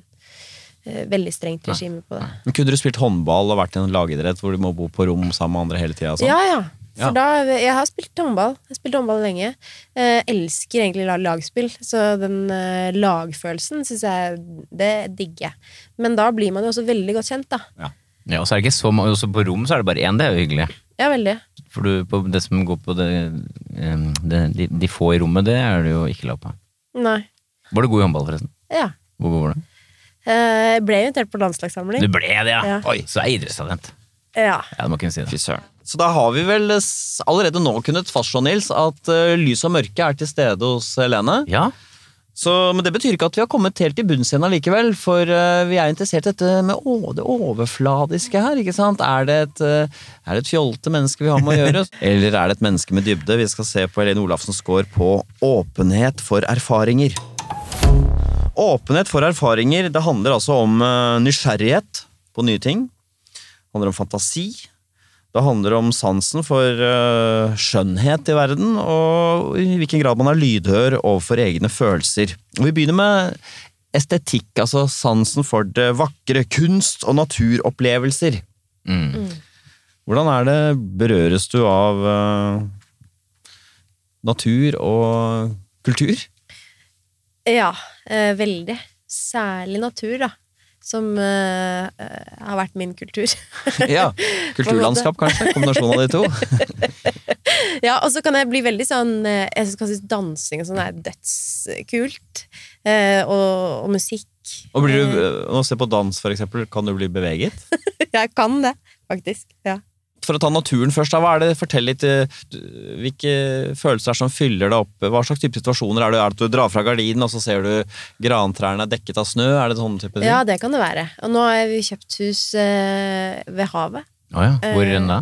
[SPEAKER 4] eh, veldig strengt
[SPEAKER 3] Nei.
[SPEAKER 4] regime på det.
[SPEAKER 2] Men Kunne du spilt håndball og vært i en lagidrett hvor du må bo på rom sammen med andre hele sånn? tida?
[SPEAKER 4] Ja, ja.
[SPEAKER 2] Ja.
[SPEAKER 4] For da, jeg har spilt håndball. Jeg har spilt håndball lenge. Eh, elsker egentlig la- lagspill, så den eh, lagfølelsen syns jeg Det digger jeg. Men da blir man jo også veldig godt kjent, da.
[SPEAKER 3] Ja, og så er det ikke så mange, også på rom så er det bare én, det er jo hyggelig.
[SPEAKER 4] Ja, veldig.
[SPEAKER 3] For du, på det som går på det, em, det de, de få i rommet, det er du jo ikke lav på.
[SPEAKER 4] Nei.
[SPEAKER 3] Var du god i håndball, forresten?
[SPEAKER 4] Ja.
[SPEAKER 3] Hvor god var du?
[SPEAKER 4] Eh, ble invitert på
[SPEAKER 3] Du
[SPEAKER 4] landslagssamling.
[SPEAKER 3] ble det, ja!
[SPEAKER 4] Ja.
[SPEAKER 3] Oi, så er jeg idrettstalent.
[SPEAKER 4] Ja.
[SPEAKER 3] Ja, du må kunne si det.
[SPEAKER 2] Fy søren. Så da har vi vel s- allerede nå kunnet fastslå, Nils, at eh, lys og mørke er til stede hos Helene.
[SPEAKER 3] Ja,
[SPEAKER 2] Så, men det betyr ikke at vi har kommet helt til bunns igjen allikevel, for eh, vi er interessert i dette med å, det overfladiske her, ikke sant? Er det, et, eh, er det et fjolte menneske vi har med å gjøre? Eller er det et menneske med dybde? Vi skal se på Helene Olafsens score på åpenhet for erfaringer. Åpenhet for erfaringer, det handler altså om eh, nysgjerrighet på nye ting. Det handler om fantasi. Det handler om sansen for eh, skjønnhet i verden, og i hvilken grad man er lydhør overfor egne følelser. Og vi begynner med estetikk, altså sansen for det vakre, kunst og naturopplevelser.
[SPEAKER 3] Mm.
[SPEAKER 2] Hvordan er det berøres du av eh, natur og kultur?
[SPEAKER 4] ja eh, veldig. Særlig natur, da. Som eh, eh, har vært min kultur.
[SPEAKER 2] Ja, Kulturlandskap, kanskje? Kombinasjon av de to.
[SPEAKER 4] Ja, og så kan jeg bli veldig sånn eh, Jeg synes kanskje dansing og sånn er dødskult. Eh, og, og musikk.
[SPEAKER 2] Og blir du, eh, Nå se på dans, for eksempel. Kan du bli beveget?
[SPEAKER 4] Jeg kan det, faktisk. Ja.
[SPEAKER 2] for å ta naturen først, da, hva er det, fortell litt eh, du- hvilke følelser er det som fyller deg opp? Hva slags type situasjoner er det? Er det at du drar fra gardinen, og så ser du grantrærne er dekket av snø? Er det sånne type ting?
[SPEAKER 4] Ja, det kan det være. Og nå har vi kjøpt hus eh, ved havet,
[SPEAKER 3] Å ja. Hvor
[SPEAKER 4] Eh,
[SPEAKER 3] enn da?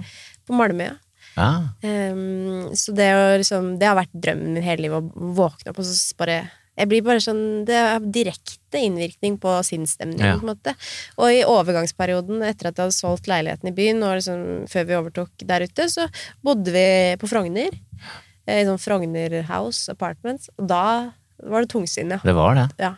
[SPEAKER 4] på Malmøya.
[SPEAKER 3] Ja.
[SPEAKER 4] Ehm, så det, å liksom, det har vært drømmen min hele livet, å våkne opp og så s- bare jeg blir bare sånn, Det har direkte innvirkning på sinnsstemningen.
[SPEAKER 3] Ja.
[SPEAKER 4] på en måte. Og i overgangsperioden etter at jeg hadde solgt leiligheten i byen, og liksom, før vi overtok der ute, så bodde vi på Frogner. eh, I sånn Frogner House Apartments. Og da var det tungsinne.
[SPEAKER 3] Det var det.
[SPEAKER 4] Ja.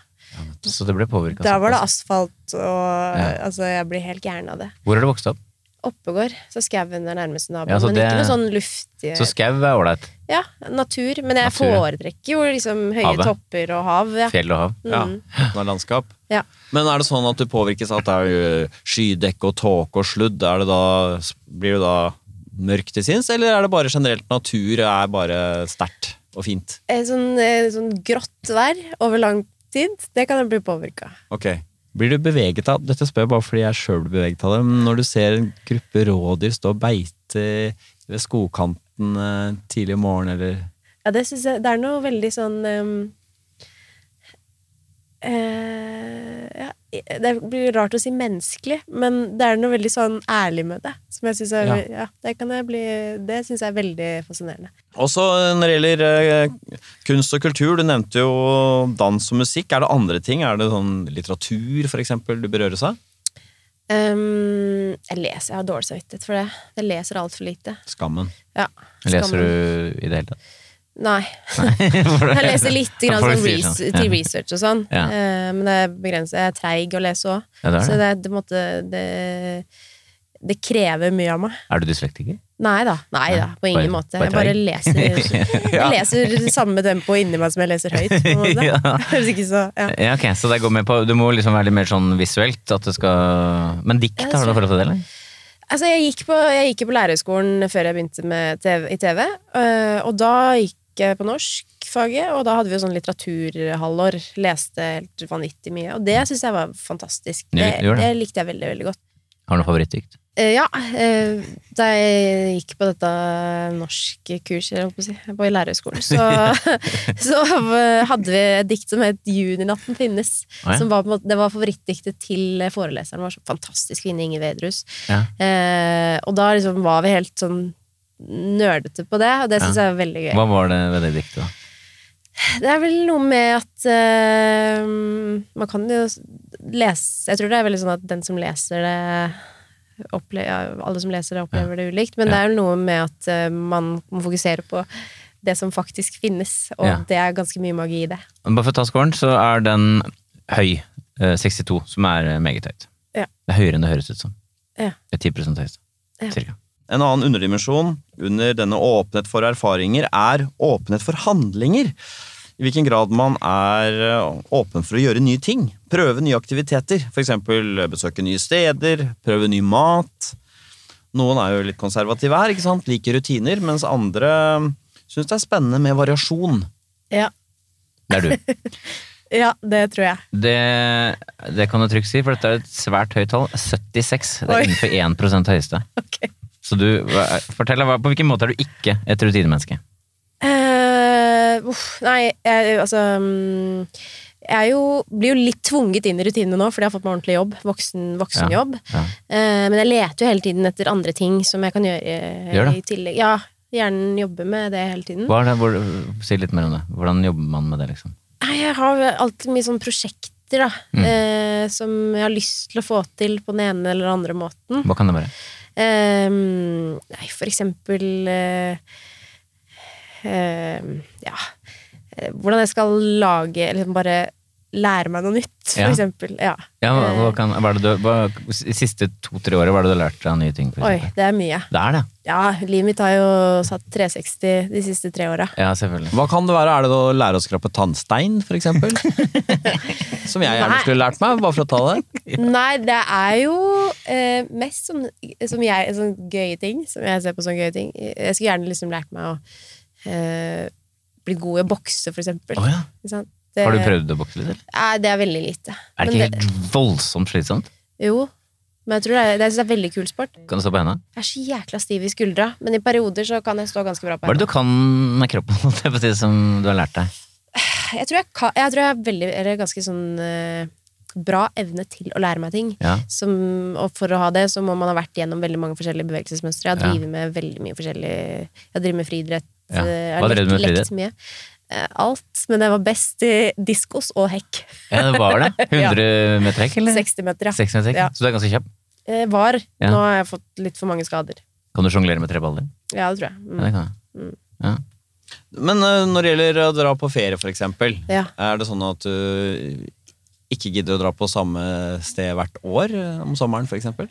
[SPEAKER 3] Så det ble påvirka.
[SPEAKER 4] Da var det asfalt, og altså, jeg blir helt gæren av det.
[SPEAKER 3] Hvor har du vokst opp?
[SPEAKER 4] Oppegård, så skauen er nærmeste nabo.
[SPEAKER 3] Ja, så
[SPEAKER 4] men
[SPEAKER 3] det-
[SPEAKER 4] ikke noe sånn luftig
[SPEAKER 3] Så skau er ålreit.
[SPEAKER 4] Ja, natur. Men jeg
[SPEAKER 3] Natur, ja.
[SPEAKER 4] foretrekker jo liksom høye
[SPEAKER 3] Havet.
[SPEAKER 4] topper og hav. Ja.
[SPEAKER 3] Fjell og hav.
[SPEAKER 2] Ja,
[SPEAKER 4] Mm.
[SPEAKER 2] Når landskap.
[SPEAKER 4] Ja.
[SPEAKER 2] Men er det sånn at du påvirkes av at det er eh, skydekke og tåke og sludd? Er det da, blir du da mørk til sinns, eller er det bare generelt natur er bare sterkt og fint?
[SPEAKER 4] Eh, Sånn, eh, sånn grått vær over lang tid, det kan jeg bli påvirka.
[SPEAKER 2] Ok. Blir du beveget av Dette spør jeg bare fordi jeg sjøl blir beveget av det. Men når du ser en gruppe rådyr stå og beite ved skogkanten eh, tidlig om morgenen, eller
[SPEAKER 4] Ja, det syns jeg Det er noe veldig sånn ehm, eh, ja, det blir rart å si menneskelig, men det er noe veldig sånn ærlig med det. Som jeg synes er, ja. det kan jeg bli Det syns jeg er veldig fascinerende.
[SPEAKER 2] Også når det gjelder eh, kunst og kultur, du nevnte jo dans og musikk. Er det andre ting? Er det sånn litteratur, for eksempel, du berøres av?
[SPEAKER 4] Ehm, jeg leser, jeg har dårlig samvittighet for det. Jeg leser altfor lite.
[SPEAKER 2] Skammen.
[SPEAKER 4] Ja,
[SPEAKER 3] Leser
[SPEAKER 4] skammen.
[SPEAKER 3] du i det hele tatt?
[SPEAKER 4] Nei.
[SPEAKER 3] For det-
[SPEAKER 4] Jeg leser litt grann
[SPEAKER 3] Folk
[SPEAKER 4] sånn
[SPEAKER 3] sier
[SPEAKER 4] res
[SPEAKER 3] sånn, ja.
[SPEAKER 4] til research og sånn,
[SPEAKER 3] Ja.
[SPEAKER 4] Eh, men det er begrenset. Jeg er treig å lese òg.
[SPEAKER 3] Ja, det
[SPEAKER 4] Så
[SPEAKER 3] er, det.
[SPEAKER 4] det, det, måtte, det, det krever mye av meg.
[SPEAKER 3] er du dyslektiker?
[SPEAKER 4] Nei da. Nei da, på ingen
[SPEAKER 3] bare-
[SPEAKER 4] måte.
[SPEAKER 3] bare
[SPEAKER 4] Jeg bare
[SPEAKER 3] treig.
[SPEAKER 4] leser Jeg leser samme tempo inni meg som jeg leser høyt. På en måte.
[SPEAKER 3] Ja.
[SPEAKER 4] Høres ikke så ja.
[SPEAKER 3] Ja, ok, så det går med på Du må liksom være litt mer sånn visuelt. At det skal Men dikt,
[SPEAKER 4] Ja,
[SPEAKER 3] har du noe forhold til det, eller?
[SPEAKER 4] Altså, jeg gikk på, jeg gikk jo på lærerskolen før jeg begynte med TV, i TV, øh, og da gikk jeg på norskfaget, og da hadde vi jo sånn litteraturhalvår, leste helt vanvittig mye, og det synes jeg var fantastisk.
[SPEAKER 3] Du
[SPEAKER 4] Det,
[SPEAKER 3] gjorde det?
[SPEAKER 4] det likte jeg veldig, veldig godt.
[SPEAKER 3] Har du noe favorittdikt?
[SPEAKER 4] Eh, ja, eh, da jeg gikk på dette norskkurset, eller hva jeg holdt på å si, på lærerskolen, så, så hadde vi et dikt som het 'Juninatten finnes'.
[SPEAKER 3] Å, ja.
[SPEAKER 4] som var, på en måte- det var favorittdiktet til foreleseren vår, så fantastisk kvinne, Inger Vedrus.
[SPEAKER 3] Ja.
[SPEAKER 4] Eh, og da liksom var vi helt sånn nerdete på det, og det syns jeg var veldig gøy.
[SPEAKER 3] Hva var det ved det diktet? da?
[SPEAKER 4] Det er vel noe med at eh, man kan jo lese Jeg tror det er veldig sånn at den som leser det opple ja, Alle som leser det, opplever det ulikt,
[SPEAKER 3] Ja.
[SPEAKER 4] men det er jo noe med at eh, man må fokusere på det som faktisk finnes, og
[SPEAKER 3] Ja.
[SPEAKER 4] det er ganske mye magi i det.
[SPEAKER 3] Bare for å ta scoren, så er den høy. eh, 62, som er eh, meget høyt.
[SPEAKER 4] Ja.
[SPEAKER 3] Det er høyere enn det høres ut som.
[SPEAKER 4] Ja.
[SPEAKER 3] Det er 10 høyest.
[SPEAKER 4] Ja.
[SPEAKER 3] Cirka.
[SPEAKER 2] En annen underdimensjon under denne åpenhet for erfaringer er åpenhet for handlinger. I hvilken grad man er eh, åpen for å gjøre nye ting. Prøve nye aktiviteter. F.eks. besøke nye steder, prøve ny mat. Noen er jo litt konservative her, ikke sant? liker rutiner, mens andre syns det er spennende med variasjon.
[SPEAKER 4] Ja,
[SPEAKER 3] Det er du.
[SPEAKER 4] det tror jeg.
[SPEAKER 3] Det, det kan du trygt si, for dette er et svært høyt tall. 76. Det
[SPEAKER 4] Oi.
[SPEAKER 3] er innenfor 1 høyeste. Så du, hva- fortell, hva- på hvilken måte er du ikke et rutinemenneske?
[SPEAKER 4] Eh, uff, nei, jeg, altså mm, Jeg er jo, blir jo litt tvunget inn i rutinene nå, fordi jeg har fått meg ordentlig jobb. Voksen, voksenjobb.
[SPEAKER 3] Ja.
[SPEAKER 4] Eh, men jeg leter jo hele tiden etter andre ting som jeg kan gjøre eh,
[SPEAKER 3] Gjør det.
[SPEAKER 4] i tillegg. Ja, Hjernen jobber med det hele tiden.
[SPEAKER 3] Hva er det, hvor, si litt mer om det. Hvordan jobber man med det, liksom?
[SPEAKER 4] Nei, jeg har alltid mye sånne prosjekter da,
[SPEAKER 3] Mm.
[SPEAKER 4] eh, som jeg har lyst til å få til på den ene eller den andre måten.
[SPEAKER 3] Hva kan det være?
[SPEAKER 4] Eh, nei, for eksempel eh, eh, Ja eh, Hvordan jeg skal lage Eller liksom bare lære meg noe nytt, for
[SPEAKER 3] Ja.
[SPEAKER 4] eksempel. Ja.
[SPEAKER 3] Ja, hva, hva
[SPEAKER 4] Eh,
[SPEAKER 3] kan, hva er det du, hva, de siste to-tre året, hva er det du har lært deg av nye ting? For
[SPEAKER 4] Eh, Oi,
[SPEAKER 3] eksempel?
[SPEAKER 4] det er mye.
[SPEAKER 3] Det er det.
[SPEAKER 4] Ja, livet mitt har jo satt 360 de siste tre åra.
[SPEAKER 3] Ja, selvfølgelig.
[SPEAKER 2] Hva kan det være? Er det å lære å skrape tannstein, f.eks.? Som jeg gjerne
[SPEAKER 4] Nei.
[SPEAKER 2] skulle lært meg, bare for å ta det.
[SPEAKER 4] Nei, det er jo eh, mest sånn, som jeg, sånn gøye ting. Som jeg ser på sånne gøye ting. Jeg skulle gjerne liksom lært meg å eh, bli god i å bokse, for eksempel.
[SPEAKER 3] Å, ja.
[SPEAKER 4] Ikke sant? Det-
[SPEAKER 3] Har du prøvd å bokse litt? Eller?
[SPEAKER 4] Nei, det er veldig lite.
[SPEAKER 3] Er det
[SPEAKER 4] Eh, Men
[SPEAKER 3] ikke helt voldsomt slitsomt?
[SPEAKER 4] Jo, Men jeg tror det er, det synes jeg er veldig kul sport.
[SPEAKER 3] Kan du stå på henda?
[SPEAKER 4] Jeg er så jækla stiv i skuldra, men i perioder så kan jeg stå ganske bra på
[SPEAKER 3] Hva er det du
[SPEAKER 4] henda.
[SPEAKER 3] kan med kroppen holdt jeg på å si, som du har lært deg?
[SPEAKER 4] Jeg tror jeg, kan, jeg, tror jeg er veldig, eller ganske sånn eh, bra evne til å lære meg ting.
[SPEAKER 3] Ja.
[SPEAKER 4] Som, og for å ha det, så må man ha vært gjennom veldig mange forskjellige bevegelsesmønstre. Jeg
[SPEAKER 3] Ja.
[SPEAKER 4] driver med veldig mye forskjellig Jeg driver med friidrett.
[SPEAKER 3] Ja.
[SPEAKER 4] eh,
[SPEAKER 3] Hva drev du med
[SPEAKER 4] lekt- lekt mye. Eh, Alt, men jeg var best i diskos og hekk.
[SPEAKER 3] ja, det var det. 100 meter hekk, eller?
[SPEAKER 4] 60 meter, ja.
[SPEAKER 3] 60 meter hekk.
[SPEAKER 4] Ja.
[SPEAKER 3] Så du er ganske kjapp.
[SPEAKER 4] Eh, Var.
[SPEAKER 3] Ja.
[SPEAKER 4] Nå har jeg fått litt for mange skader.
[SPEAKER 3] Kan du sjonglere med tre baller?
[SPEAKER 4] Ja, det tror jeg.
[SPEAKER 3] Ja, det
[SPEAKER 4] Mm.
[SPEAKER 3] kan jeg.
[SPEAKER 4] Mm.
[SPEAKER 3] Ja.
[SPEAKER 2] Men eh, når det gjelder å dra på ferie, for eksempel,
[SPEAKER 4] Ja.
[SPEAKER 2] er det sånn at du ikke gidder å dra på samme sted hvert år eh, om sommeren, for eksempel?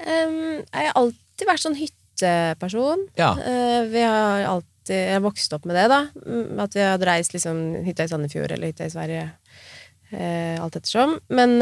[SPEAKER 4] Em, jeg har alltid vært sånn hytteperson.
[SPEAKER 2] Ja.
[SPEAKER 4] Eh, vi har alltid Jeg har vokst opp med det, da. Mm, At vi hadde reist liksom hytta i Sandefjord eller hytta i Sverige. eh, alt ettersom. Men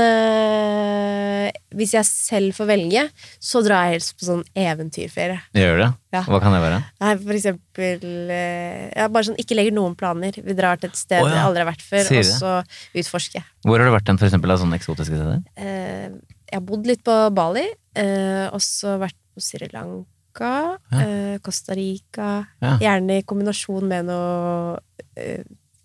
[SPEAKER 4] eh, hvis jeg selv får velge, så drar jeg helst på sånn eventyrferie.
[SPEAKER 3] Gjør det?
[SPEAKER 4] Ja.
[SPEAKER 3] Hva kan det være?
[SPEAKER 4] Nei, for eksempel eh, ja, Bare sånn ikke legger noen planer. Vi drar til et sted
[SPEAKER 3] Å, ja.
[SPEAKER 4] jeg aldri har vært før,
[SPEAKER 3] Sier
[SPEAKER 4] og
[SPEAKER 3] det.
[SPEAKER 4] så utforsker jeg.
[SPEAKER 3] Hvor har du vært den, for eksempel, av sånne eksotiske steder?
[SPEAKER 4] Eh, jeg har bodd litt på Bali, eh, og så vært på Sri Lanka,
[SPEAKER 3] Ja.
[SPEAKER 4] eh, Costa Rica.
[SPEAKER 3] Ja.
[SPEAKER 4] Gjerne i kombinasjon med noe eh,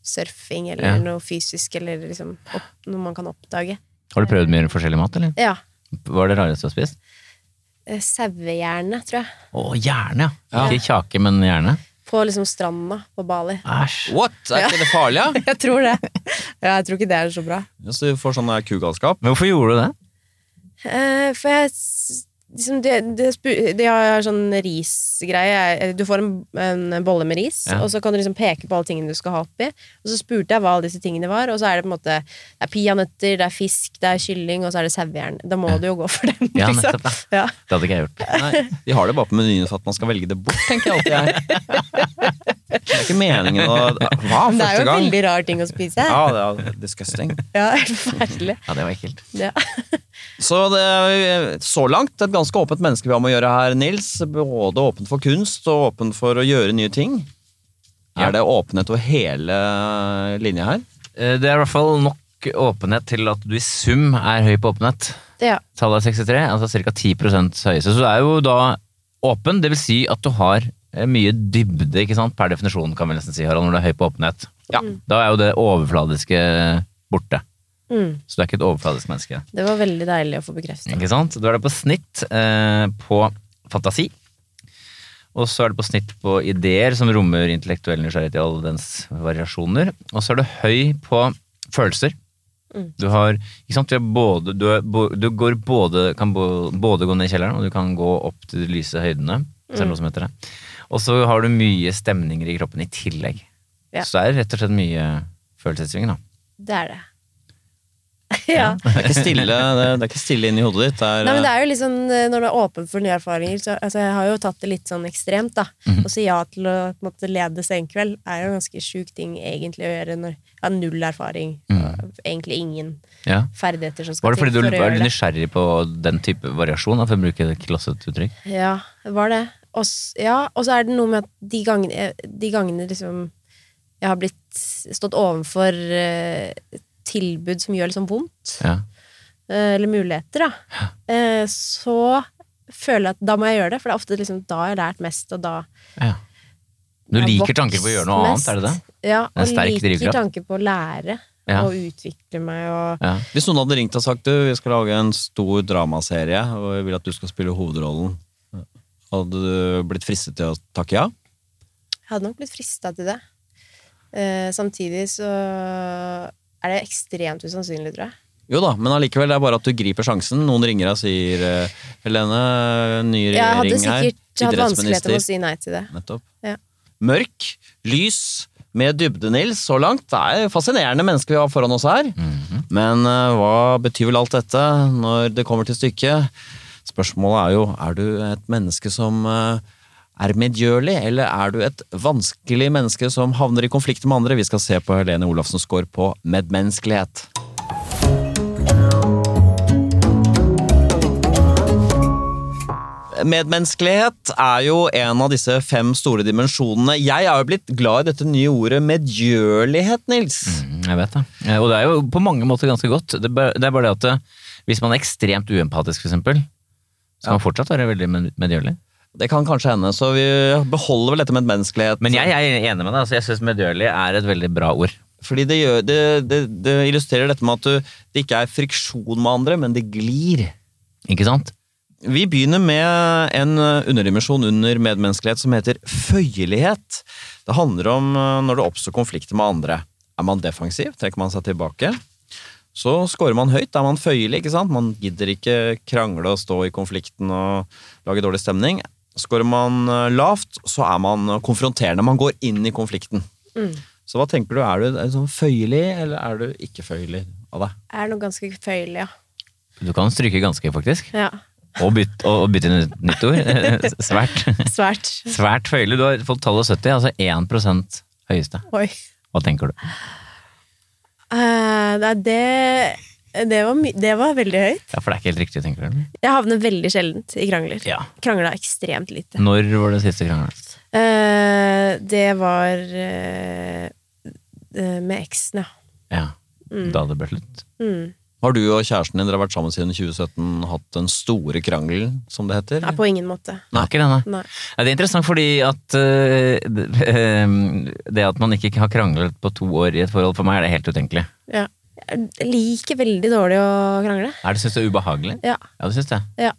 [SPEAKER 4] surfing eller
[SPEAKER 3] Ja.
[SPEAKER 4] noe fysisk, eller liksom opp, noe man kan oppdage.
[SPEAKER 3] Har du prøvd
[SPEAKER 4] Eh.
[SPEAKER 3] mye forskjellig mat, eller?
[SPEAKER 4] Ja.
[SPEAKER 3] Hva er det rareste du har spist?
[SPEAKER 4] eh, Sauehjerne, tror jeg.
[SPEAKER 3] Å, hjerne, ja.
[SPEAKER 2] Ja.
[SPEAKER 3] Ikke kjake, men hjerne.
[SPEAKER 4] På liksom stranda på Bali.
[SPEAKER 3] Æsj.
[SPEAKER 2] What? Er ikke det farlig, ja?
[SPEAKER 4] Jeg tror det. Ja, jeg tror ikke det er så bra.
[SPEAKER 2] Ja, Så du får sånn der kugalskap?
[SPEAKER 3] Men hvorfor gjorde du det?
[SPEAKER 4] Eh, for jeg s- liksom, det, det, spu- de har sånn risgreie. Jeg- eh, Du får en, en bolle med ris,
[SPEAKER 3] Ja.
[SPEAKER 4] og så kan du liksom peke på alle tingene du skal ha oppi. Og så spurte jeg hva alle disse tingene var, og så er det på en måte Det er peanøtter, det er fisk, det er kylling, og så er det sauehjerne. Da må du jo gå for den,
[SPEAKER 3] Ja, nettopp,
[SPEAKER 4] liksom. Ja.
[SPEAKER 3] Det hadde ikke jeg gjort.
[SPEAKER 2] Nei, De har det bare på menyen for at man skal velge det bort, tenker jeg alltid. Jeg. Det er ikke meningen å Hva,
[SPEAKER 4] Det er jo
[SPEAKER 2] første
[SPEAKER 4] en
[SPEAKER 2] gang?
[SPEAKER 4] veldig rar ting å spise.
[SPEAKER 2] Ja, det er disgusting.
[SPEAKER 4] Ja, helt forferdelig.
[SPEAKER 3] Ja, det var ekkelt.
[SPEAKER 4] Ja.
[SPEAKER 2] Så det er eh, så langt et ganske åpent menneske vi har med å gjøre her, Nils. Både åpen for kunst og åpen for å gjøre nye ting.
[SPEAKER 3] Ja.
[SPEAKER 2] Er det åpenhet over hele linja her?
[SPEAKER 3] Eh, Det er i hvert fall nok åpenhet til at du i sum er høy på åpenhet.
[SPEAKER 4] ja.
[SPEAKER 3] Tallet er 63, altså ca. 10 høyeste. Så du er jo da åpen, det vil si at du har eh, mye dybde, ikke sant? Per definisjon, kan vi nesten si, Harald, når du er høy på åpenhet.
[SPEAKER 2] Ja.
[SPEAKER 3] Da er jo det overfladiske borte.
[SPEAKER 4] Mm.
[SPEAKER 3] Så du er ikke et overfladisk menneske.
[SPEAKER 4] Det var veldig deilig å få bekreftet.
[SPEAKER 3] Ikke sant? Du er det på snitt eh, på fantasi. Og så er det på snitt på ideer som rommer intellektuell nysgjerrighet i alle dens variasjoner. Og så er du høy på følelser.
[SPEAKER 4] Mm.
[SPEAKER 3] Du har ikke sant? Du, er både, du, er, bo- du går både, kan bo, både gå ned i kjelleren, og du kan gå opp til de lyse høydene.
[SPEAKER 4] Mm.
[SPEAKER 3] Hvis det er noe som heter det. Og så har du mye stemninger i kroppen i tillegg.
[SPEAKER 4] Ja.
[SPEAKER 3] Så det er rett og slett mye følelsessving, da.
[SPEAKER 4] Det er det. ja.
[SPEAKER 2] Det er ikke stille, det er ikke stille inni hodet ditt. Det
[SPEAKER 4] Nei,
[SPEAKER 2] er,
[SPEAKER 4] men det er jo litt sånn, eh, Når du er åpen for nye erfaringer så, altså, Jeg har jo tatt det litt sånn ekstremt. da
[SPEAKER 3] Mhm.
[SPEAKER 4] Å si ja til å på en måte, lede senkveld er jo en ganske sjuk ting egentlig å gjøre når jeg har null erfaring. og Egentlig ingen
[SPEAKER 3] Ja.
[SPEAKER 4] ferdigheter som skal
[SPEAKER 3] Var det fordi du
[SPEAKER 4] til for å
[SPEAKER 3] var
[SPEAKER 4] gjøre
[SPEAKER 3] du
[SPEAKER 4] det.
[SPEAKER 3] nysgjerrig på den type variasjon, da, for å bruke et klosset uttrykk?
[SPEAKER 4] Ja, det var det. Og, s- ja, og så er det noe med at de gangene, eh, de gangene liksom jeg har blitt stått overfor eh, tilbud som gjør litt sånn vondt,
[SPEAKER 3] Ja.
[SPEAKER 4] eh, eller muligheter, da, eh, så føler jeg at da må jeg gjøre det, for det er ofte liksom da jeg har lært mest, og da
[SPEAKER 3] ja. Du
[SPEAKER 4] jeg har
[SPEAKER 3] liker
[SPEAKER 4] vokst
[SPEAKER 3] tanken på å gjøre noe annet,
[SPEAKER 4] mest.
[SPEAKER 3] er det det?
[SPEAKER 4] Ja,
[SPEAKER 3] Det er
[SPEAKER 4] og
[SPEAKER 3] en sterk
[SPEAKER 4] liker
[SPEAKER 3] drivkraft.
[SPEAKER 4] tanken på å lære
[SPEAKER 3] Ja.
[SPEAKER 4] og utvikle meg og
[SPEAKER 3] Ja.
[SPEAKER 2] eh, hvis noen hadde ringt og sagt du, vi skal lage en stor dramaserie og jeg vil at du skal spille hovedrollen, hadde du blitt fristet til å takke ja?
[SPEAKER 4] Jeg hadde nok blitt frista til det. Eh, samtidig så er det ekstremt usannsynlig, tror jeg.
[SPEAKER 2] Jo da, men allikevel, det er bare at du griper sjansen. Noen ringer og sier eh, Helene, ny regjering
[SPEAKER 4] Jeg hadde
[SPEAKER 2] her.
[SPEAKER 4] sikkert hatt vanskeligheter med å si nei til det.
[SPEAKER 2] Nettopp.
[SPEAKER 4] Ja.
[SPEAKER 2] Mørk, lys, med dybde, Nils, så langt. Det er fascinerende mennesker vi har foran oss her. Men eh, hva betyr vel alt dette når det kommer til stykket? Spørsmålet er jo, er du et menneske som eh, er medgjørlig, eller er du et vanskelig menneske som havner i konflikt med andre? Vi skal se på Helene Olafsens score på medmenneskelighet. Medmenneskelighet er jo en av disse fem store dimensjonene. Jeg er jo blitt glad i dette nye ordet medgjørlighet, Nils.
[SPEAKER 3] Mm, Jeg vet det. Eh, Og det er jo på mange måter ganske godt. Det er bare det, er bare det at eh, hvis man er ekstremt uempatisk, for eksempel, så kan man fortsatt være veldig med- medgjørlig.
[SPEAKER 2] Det kan kanskje hende, så vi beholder vel dette med medmenneskelighet.
[SPEAKER 3] Men jeg, jeg er enig med deg. Altså, jeg syns medgjørlig er et veldig bra ord.
[SPEAKER 2] Fordi det, gjør, det, det, det illustrerer dette med at du, det ikke er friksjon med andre, men det glir.
[SPEAKER 3] Ikke sant?
[SPEAKER 2] Vi begynner med en eh, underdimensjon under medmenneskelighet som heter føyelighet. Det handler om eh, når det oppstår konflikter med andre. Er man defensiv, trekker man seg tilbake. Så scorer man høyt, da er man føyelig. ikke sant? Man gidder ikke krangle og stå i konflikten og lage dårlig stemning. Scorer man eh, lavt, så er man eh, konfronterende. Man går inn i konflikten.
[SPEAKER 4] Mm.
[SPEAKER 2] Så hva tenker du, er du, er du sånn føyelig, eller er du ikke føyelig av deg?
[SPEAKER 4] Er noe ganske føyelig, ja.
[SPEAKER 3] Du kan stryke ganske, faktisk.
[SPEAKER 4] ja.
[SPEAKER 3] Og bytte, og og bytte inn et nytt ord. Svært.
[SPEAKER 4] Svært.
[SPEAKER 3] Svært føyelig. Du har fått tallet 70, altså 1 høyeste.
[SPEAKER 4] Oi.
[SPEAKER 3] Hva tenker du?
[SPEAKER 4] Eh, det, er det, det, var my det var veldig høyt.
[SPEAKER 3] Ja, For det er ikke helt riktig, tenker du?
[SPEAKER 4] Jeg havner veldig sjeldent i krangler.
[SPEAKER 3] Ja.
[SPEAKER 4] Krangla ekstremt lite.
[SPEAKER 3] Når var det siste krangelen?
[SPEAKER 4] Eh, det var eh, eh, med eksen, ja.
[SPEAKER 3] Ja. Da det ble slutt?
[SPEAKER 4] Mm.
[SPEAKER 2] Har du og kjæresten din dere har vært sammen siden 2017 hatt den store krangelen, som det heter?
[SPEAKER 4] Nei, på ingen måte.
[SPEAKER 3] Nei, ikke det, nei.
[SPEAKER 4] Nei.
[SPEAKER 3] Ja, det er interessant fordi at øh, det- øh, det at man ikke har kranglet på to år i et forhold, for meg er det helt utenkelig.
[SPEAKER 4] Ja. Jeg liker veldig dårlig å krangle.
[SPEAKER 3] Er det, synes du det er ubehagelig?
[SPEAKER 4] Ja.
[SPEAKER 3] Ja, det synes jeg.
[SPEAKER 4] ja.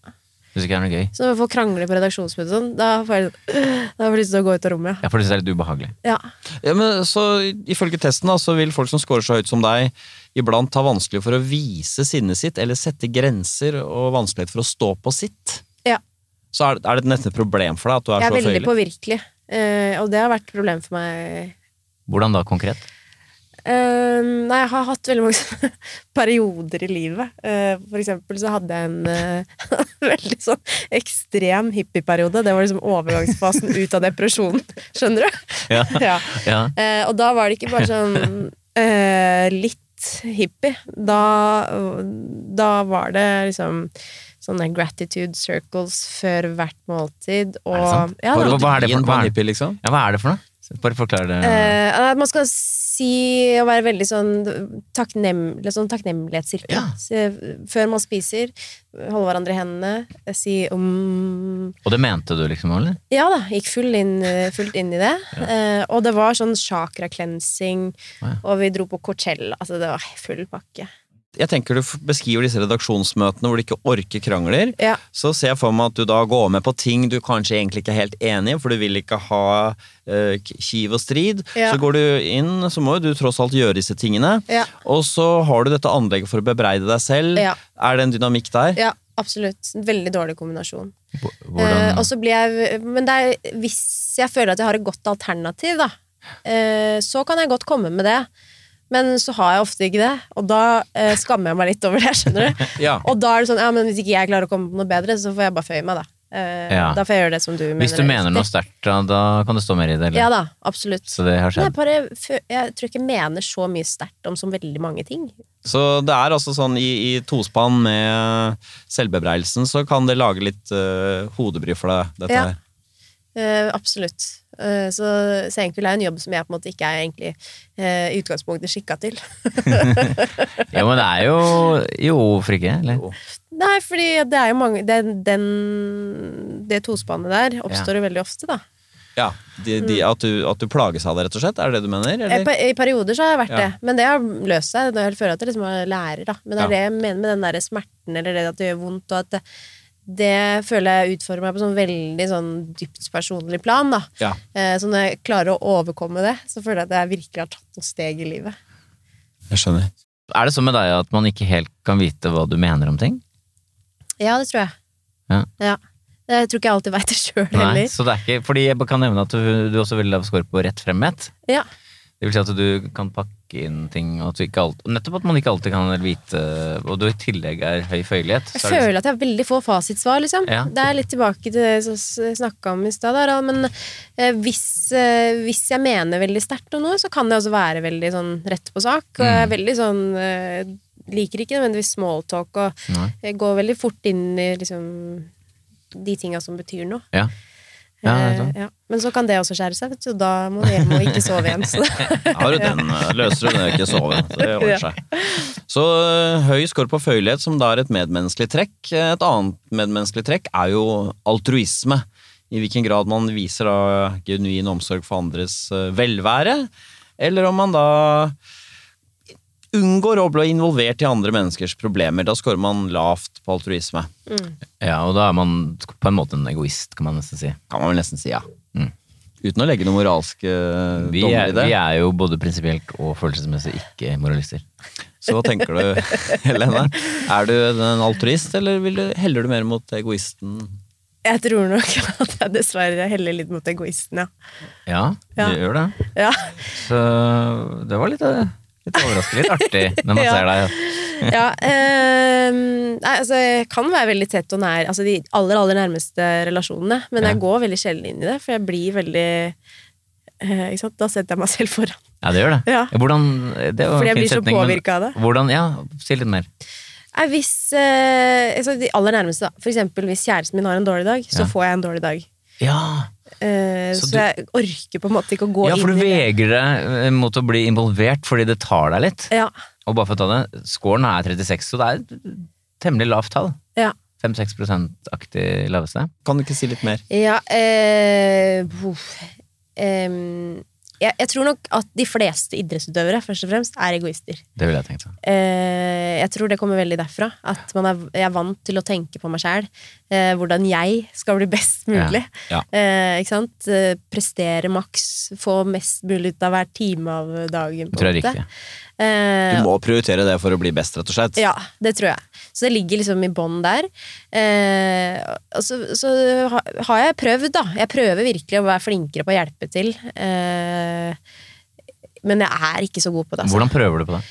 [SPEAKER 3] Synes ikke det er noe gøy.
[SPEAKER 4] Så når jeg får krangle på redaksjonsmøtet, og sånn, da får jeg, da får jeg lyst til å gå ut av rommet.
[SPEAKER 3] Ja, for det synes jeg er litt ubehagelig.
[SPEAKER 4] Ja.
[SPEAKER 2] Ja, men så Ifølge testen da, så vil folk som scorer så høyt som deg, iblant ha vanskelig for å vise sinnet sitt eller sette grenser og vanskelighet for å stå på sitt.
[SPEAKER 4] Ja.
[SPEAKER 2] Så er, er det nesten et problem for deg at du er,
[SPEAKER 4] Jeg er
[SPEAKER 2] så
[SPEAKER 4] veldig
[SPEAKER 2] føyelig?
[SPEAKER 4] påvirkelig, eh, og det har vært et problem for meg.
[SPEAKER 3] Hvordan da konkret?
[SPEAKER 4] Eh, nei, jeg har hatt veldig mange sånne perioder i livet. Eh, for eksempel så hadde jeg en eh, veldig sånn ekstrem hippieperiode. Det var liksom overgangsfasen ut av depresjonen, skjønner du?
[SPEAKER 3] Ja.
[SPEAKER 4] ja.
[SPEAKER 3] Ja.
[SPEAKER 4] Eh, og da var det ikke bare sånn eh, litt hippie. Da, da var det liksom sånne gratitude circles før hvert måltid. Og,
[SPEAKER 3] Er det sant?
[SPEAKER 4] Ja,
[SPEAKER 3] Hva-
[SPEAKER 4] da.
[SPEAKER 3] hva er det for-
[SPEAKER 2] Vin på
[SPEAKER 3] hva er
[SPEAKER 2] en
[SPEAKER 3] det?
[SPEAKER 2] hippie, liksom?
[SPEAKER 3] ja, hva er det for noe? Bare forklar det.
[SPEAKER 4] Eh, at man skal si og være veldig sånn, takknem, eller sånn takknemlighetssirkel.
[SPEAKER 3] Ja.
[SPEAKER 4] Si- Før man spiser, holde hverandre i hendene, eh, si om
[SPEAKER 3] Og det mente du liksom, eller?
[SPEAKER 4] Ja da, gikk full inn, fullt inn i det. Eh, og det var sånn chakra-cleansing,
[SPEAKER 3] Wow.
[SPEAKER 4] og vi dro på Coachella. Altså, det var full pakke.
[SPEAKER 2] Jeg tenker Du f- beskriver disse redaksjonsmøtene hvor du ikke orker krangler.
[SPEAKER 4] Ja.
[SPEAKER 2] Så ser jeg for meg at du da går med på ting du kanskje egentlig ikke er helt enig i, for du vil ikke ha eh, k- kiv og strid.
[SPEAKER 4] Ja.
[SPEAKER 2] Så går du inn, så må jo du tross alt gjøre disse tingene.
[SPEAKER 4] Ja.
[SPEAKER 2] Og så har du dette anlegget for å bebreide deg selv.
[SPEAKER 4] Ja.
[SPEAKER 2] Er det en dynamikk der?
[SPEAKER 4] ja, absolutt. En Veldig dårlig kombinasjon.
[SPEAKER 3] Hvor-
[SPEAKER 4] Eh,
[SPEAKER 3] Hvordan?
[SPEAKER 4] og så blir jeg Men det er, hvis jeg føler at jeg har et godt alternativ, da, eh, så kan jeg godt komme med det. Men så har jeg ofte ikke det, og da eh, skammer jeg meg litt over det. skjønner du?
[SPEAKER 2] Ja.
[SPEAKER 4] Og da er det sånn, ja, men hvis ikke jeg klarer å komme på noe bedre, så får jeg bare føye meg, da. Eh,
[SPEAKER 3] Ja.
[SPEAKER 4] Da får jeg gjøre det som du mener.
[SPEAKER 3] Hvis du
[SPEAKER 4] er
[SPEAKER 3] mener noe
[SPEAKER 4] riktig.
[SPEAKER 3] sterkt, da, da kan det stå mer i det. Eller?
[SPEAKER 4] Ja da, absolutt.
[SPEAKER 3] Så det har
[SPEAKER 4] Men
[SPEAKER 3] skjedd.
[SPEAKER 4] jeg, bare, fø- jeg tror ikke jeg mener så mye sterkt om så veldig mange ting.
[SPEAKER 2] Så det er altså sånn i, i tospann med selvbebreidelsen, så kan det lage litt eh, hodebry for deg, dette
[SPEAKER 4] Ja.
[SPEAKER 2] her.
[SPEAKER 4] Eh, absolutt. Eh, så senkveld er en jobb som jeg på en måte ikke er egentlig eh, i utgangspunktet skikka til.
[SPEAKER 3] Ja, men det er jo Jo, hvorfor ikke? Eller?
[SPEAKER 2] Jo.
[SPEAKER 4] Nei, fordi det er jo mange Den, den det tospannet der oppstår jo veldig ofte, da.
[SPEAKER 2] Ja, de, de,
[SPEAKER 4] Mm.
[SPEAKER 2] at, du, at du plages av det, rett og slett? Er det det du mener?
[SPEAKER 4] Eh,
[SPEAKER 2] Eller?
[SPEAKER 4] pe- I perioder så har jeg vært
[SPEAKER 2] Ja.
[SPEAKER 4] det, men det har løst seg. Jeg føler at jeg liksom har lærer, da. Men det er
[SPEAKER 2] Ja.
[SPEAKER 4] det jeg mener med den der smerten, eller det at det gjør vondt, og at det, det føler jeg utfordrer meg på sånn veldig sånn dypt personlig plan, da.
[SPEAKER 2] Ja.
[SPEAKER 4] Eh, Så når jeg klarer å overkomme det, så føler jeg at jeg virkelig har tatt noen steg i livet.
[SPEAKER 2] Jeg skjønner.
[SPEAKER 3] Er det sånn med deg at man ikke helt kan vite hva du mener om ting?
[SPEAKER 4] Ja, det tror jeg.
[SPEAKER 3] Ja.
[SPEAKER 4] Jeg tror ikke jeg alltid veit det sjøl
[SPEAKER 3] Nei,
[SPEAKER 4] heller.
[SPEAKER 3] så det er ikke, fordi jeg kan nevne at du, du også vil lave score på rett fremhet.
[SPEAKER 4] Ja.
[SPEAKER 3] Det vil si at du kan pakke inn ting, og at du ikke alt, nettopp at man ikke alltid kan vite, og du i tillegg er høy føyelighet.
[SPEAKER 4] Jeg
[SPEAKER 3] så er det
[SPEAKER 4] føler at jeg har veldig få fasitsvar, liksom.
[SPEAKER 3] Ja.
[SPEAKER 4] Det er litt tilbake til det som jeg snakka om i stad, der, da, men eh, hvis, eh, hvis jeg mener veldig sterkt om noe, så kan jeg også være veldig sånn rett på sak. Og
[SPEAKER 3] Mm.
[SPEAKER 4] jeg er veldig sånn eh, Liker ikke nødvendigvis smalltalk og
[SPEAKER 3] sånn- Nei.
[SPEAKER 4] jeg går veldig fort inn i liksom de tinga som betyr noe.
[SPEAKER 3] Ja. Ja, jeg vet
[SPEAKER 4] Eh, ja. Men så kan det også skjære seg, vet du. Da må du hjem og ikke sove igjen. Så.
[SPEAKER 2] Har du den, eh, løser du den ikke sove. Det ordner seg. Så eh, høy skår på føyelighet, som da er et medmenneskelig trekk. Eh, Et annet medmenneskelig trekk er jo altruisme. I hvilken grad man viser da genuin omsorg for andres eh, velvære, eller om man da unngår å bli involvert i andre menneskers problemer. Da skårer man lavt på altruisme.
[SPEAKER 3] Ja, og da er man på en måte en egoist, kan man nesten si.
[SPEAKER 2] Kan man vel nesten si, ja.
[SPEAKER 3] Mm.
[SPEAKER 2] Uten å legge noen moralske eh,
[SPEAKER 3] Vi
[SPEAKER 2] dommer
[SPEAKER 3] er,
[SPEAKER 2] i det.
[SPEAKER 3] vi er jo både prinsipielt og følelsesmessig ikke moralister.
[SPEAKER 2] Så hva tenker du, Helene? Er du en altruist, eller vil du, heller du mer mot egoisten?
[SPEAKER 4] Jeg tror nok at jeg dessverre heller litt mot egoisten, ja.
[SPEAKER 3] Ja,
[SPEAKER 4] Ja.
[SPEAKER 3] du gjør det.
[SPEAKER 4] Ja,
[SPEAKER 3] Så det var litt, eh, litt overraskende, litt artig når man
[SPEAKER 4] Ja.
[SPEAKER 3] ser deg.
[SPEAKER 4] ja eh, Nei, altså, jeg kan være veldig tett og nær altså, de aller, aller nærmeste relasjonene, men
[SPEAKER 3] Ja.
[SPEAKER 4] jeg går veldig sjelden inn i det, for jeg blir veldig eh, ikke sant? Da setter jeg meg selv foran.
[SPEAKER 3] Ja, det gjør det.
[SPEAKER 4] Ja.
[SPEAKER 3] Hvordan, det var en
[SPEAKER 4] Fordi jeg
[SPEAKER 3] fin
[SPEAKER 4] blir så
[SPEAKER 3] setning, men
[SPEAKER 4] påvirket av det.
[SPEAKER 3] Hvordan, ja, si litt mer.
[SPEAKER 4] Nei, hvis eh, altså, De aller nærmeste, da. For eksempel hvis kjæresten min har en dårlig dag, så
[SPEAKER 3] Ja.
[SPEAKER 4] får jeg en dårlig dag.
[SPEAKER 3] Ja,
[SPEAKER 4] Eh,
[SPEAKER 3] Så du-
[SPEAKER 4] så, jeg orker på en måte ikke å gå
[SPEAKER 3] ja for du
[SPEAKER 4] inn i det.
[SPEAKER 3] vegrer deg eh, mot å bli involvert fordi det tar deg litt.
[SPEAKER 4] Ja,
[SPEAKER 3] Og bare for å ta det, scoren er 36, så det er et temmelig lavt tall.
[SPEAKER 4] ja.
[SPEAKER 3] 5-6 %-aktig laveste.
[SPEAKER 2] Kan du ikke si litt mer?
[SPEAKER 4] Ja eh, uff. Em, jeg, jeg tror nok at de fleste idrettsutøvere først og fremst er egoister.
[SPEAKER 3] Det ville jeg tenkt meg.
[SPEAKER 4] Eh, jeg tror det kommer veldig derfra. At man er, jeg er vant til å tenke på meg sjæl. Eh, hvordan jeg skal bli best mulig.
[SPEAKER 2] Ja,
[SPEAKER 4] Eh, ikke sant? Eh, prestere maks. Få mest mulig ut av hver time av dagen.
[SPEAKER 3] Det tror jeg er
[SPEAKER 4] måte.
[SPEAKER 3] riktig.
[SPEAKER 4] Eh,
[SPEAKER 2] Du må prioritere det for å bli best, rett og slett.
[SPEAKER 4] ja, det tror jeg. Så det ligger liksom i bånn der. Eh, og så, så ha- har jeg prøvd, da. Jeg prøver virkelig å være flinkere på å hjelpe til. Eh, men jeg er ikke så god på det. Altså.
[SPEAKER 3] Hvordan prøver du på det?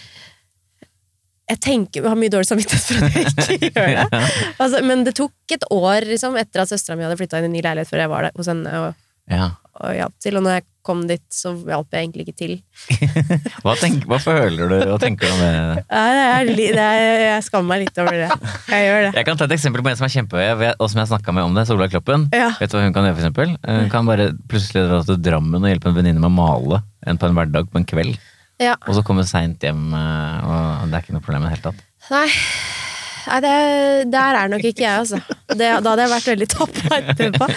[SPEAKER 4] Jeg tenker, jeg har mye dårlig samvittighet for at jeg ikke gjør det. Altså, men det tok et år liksom, etter at søstera mi hadde flytta inn i ny leilighet før jeg var der hos henne og,
[SPEAKER 3] Ja.
[SPEAKER 4] og hjalp til. Og når jeg kom dit, så hjalp jeg egentlig ikke til.
[SPEAKER 3] Hva, tenk, hva føler du og tenker du om det?
[SPEAKER 4] Nei, det er, li- det er, jeg skammer meg litt over det. Jeg gjør det.
[SPEAKER 3] Jeg kan ta et eksempel på en som er kjempehøy, jeg vet- og som jeg snakka med om det. Solveig Kloppen.
[SPEAKER 4] Ja.
[SPEAKER 3] Vet du hva hun kan gjøre, for eksempel? Hun kan bare plutselig dra til Drammen og hjelpe en venninne med å male en på en hverdag på en kveld.
[SPEAKER 4] Ja.
[SPEAKER 3] Og så komme seint hjem, eh, og det er ikke noe problem i det hele tatt.
[SPEAKER 4] Nei, Nei det, der er nok ikke jeg, altså. Det, da hadde jeg vært veldig tappa etterpå.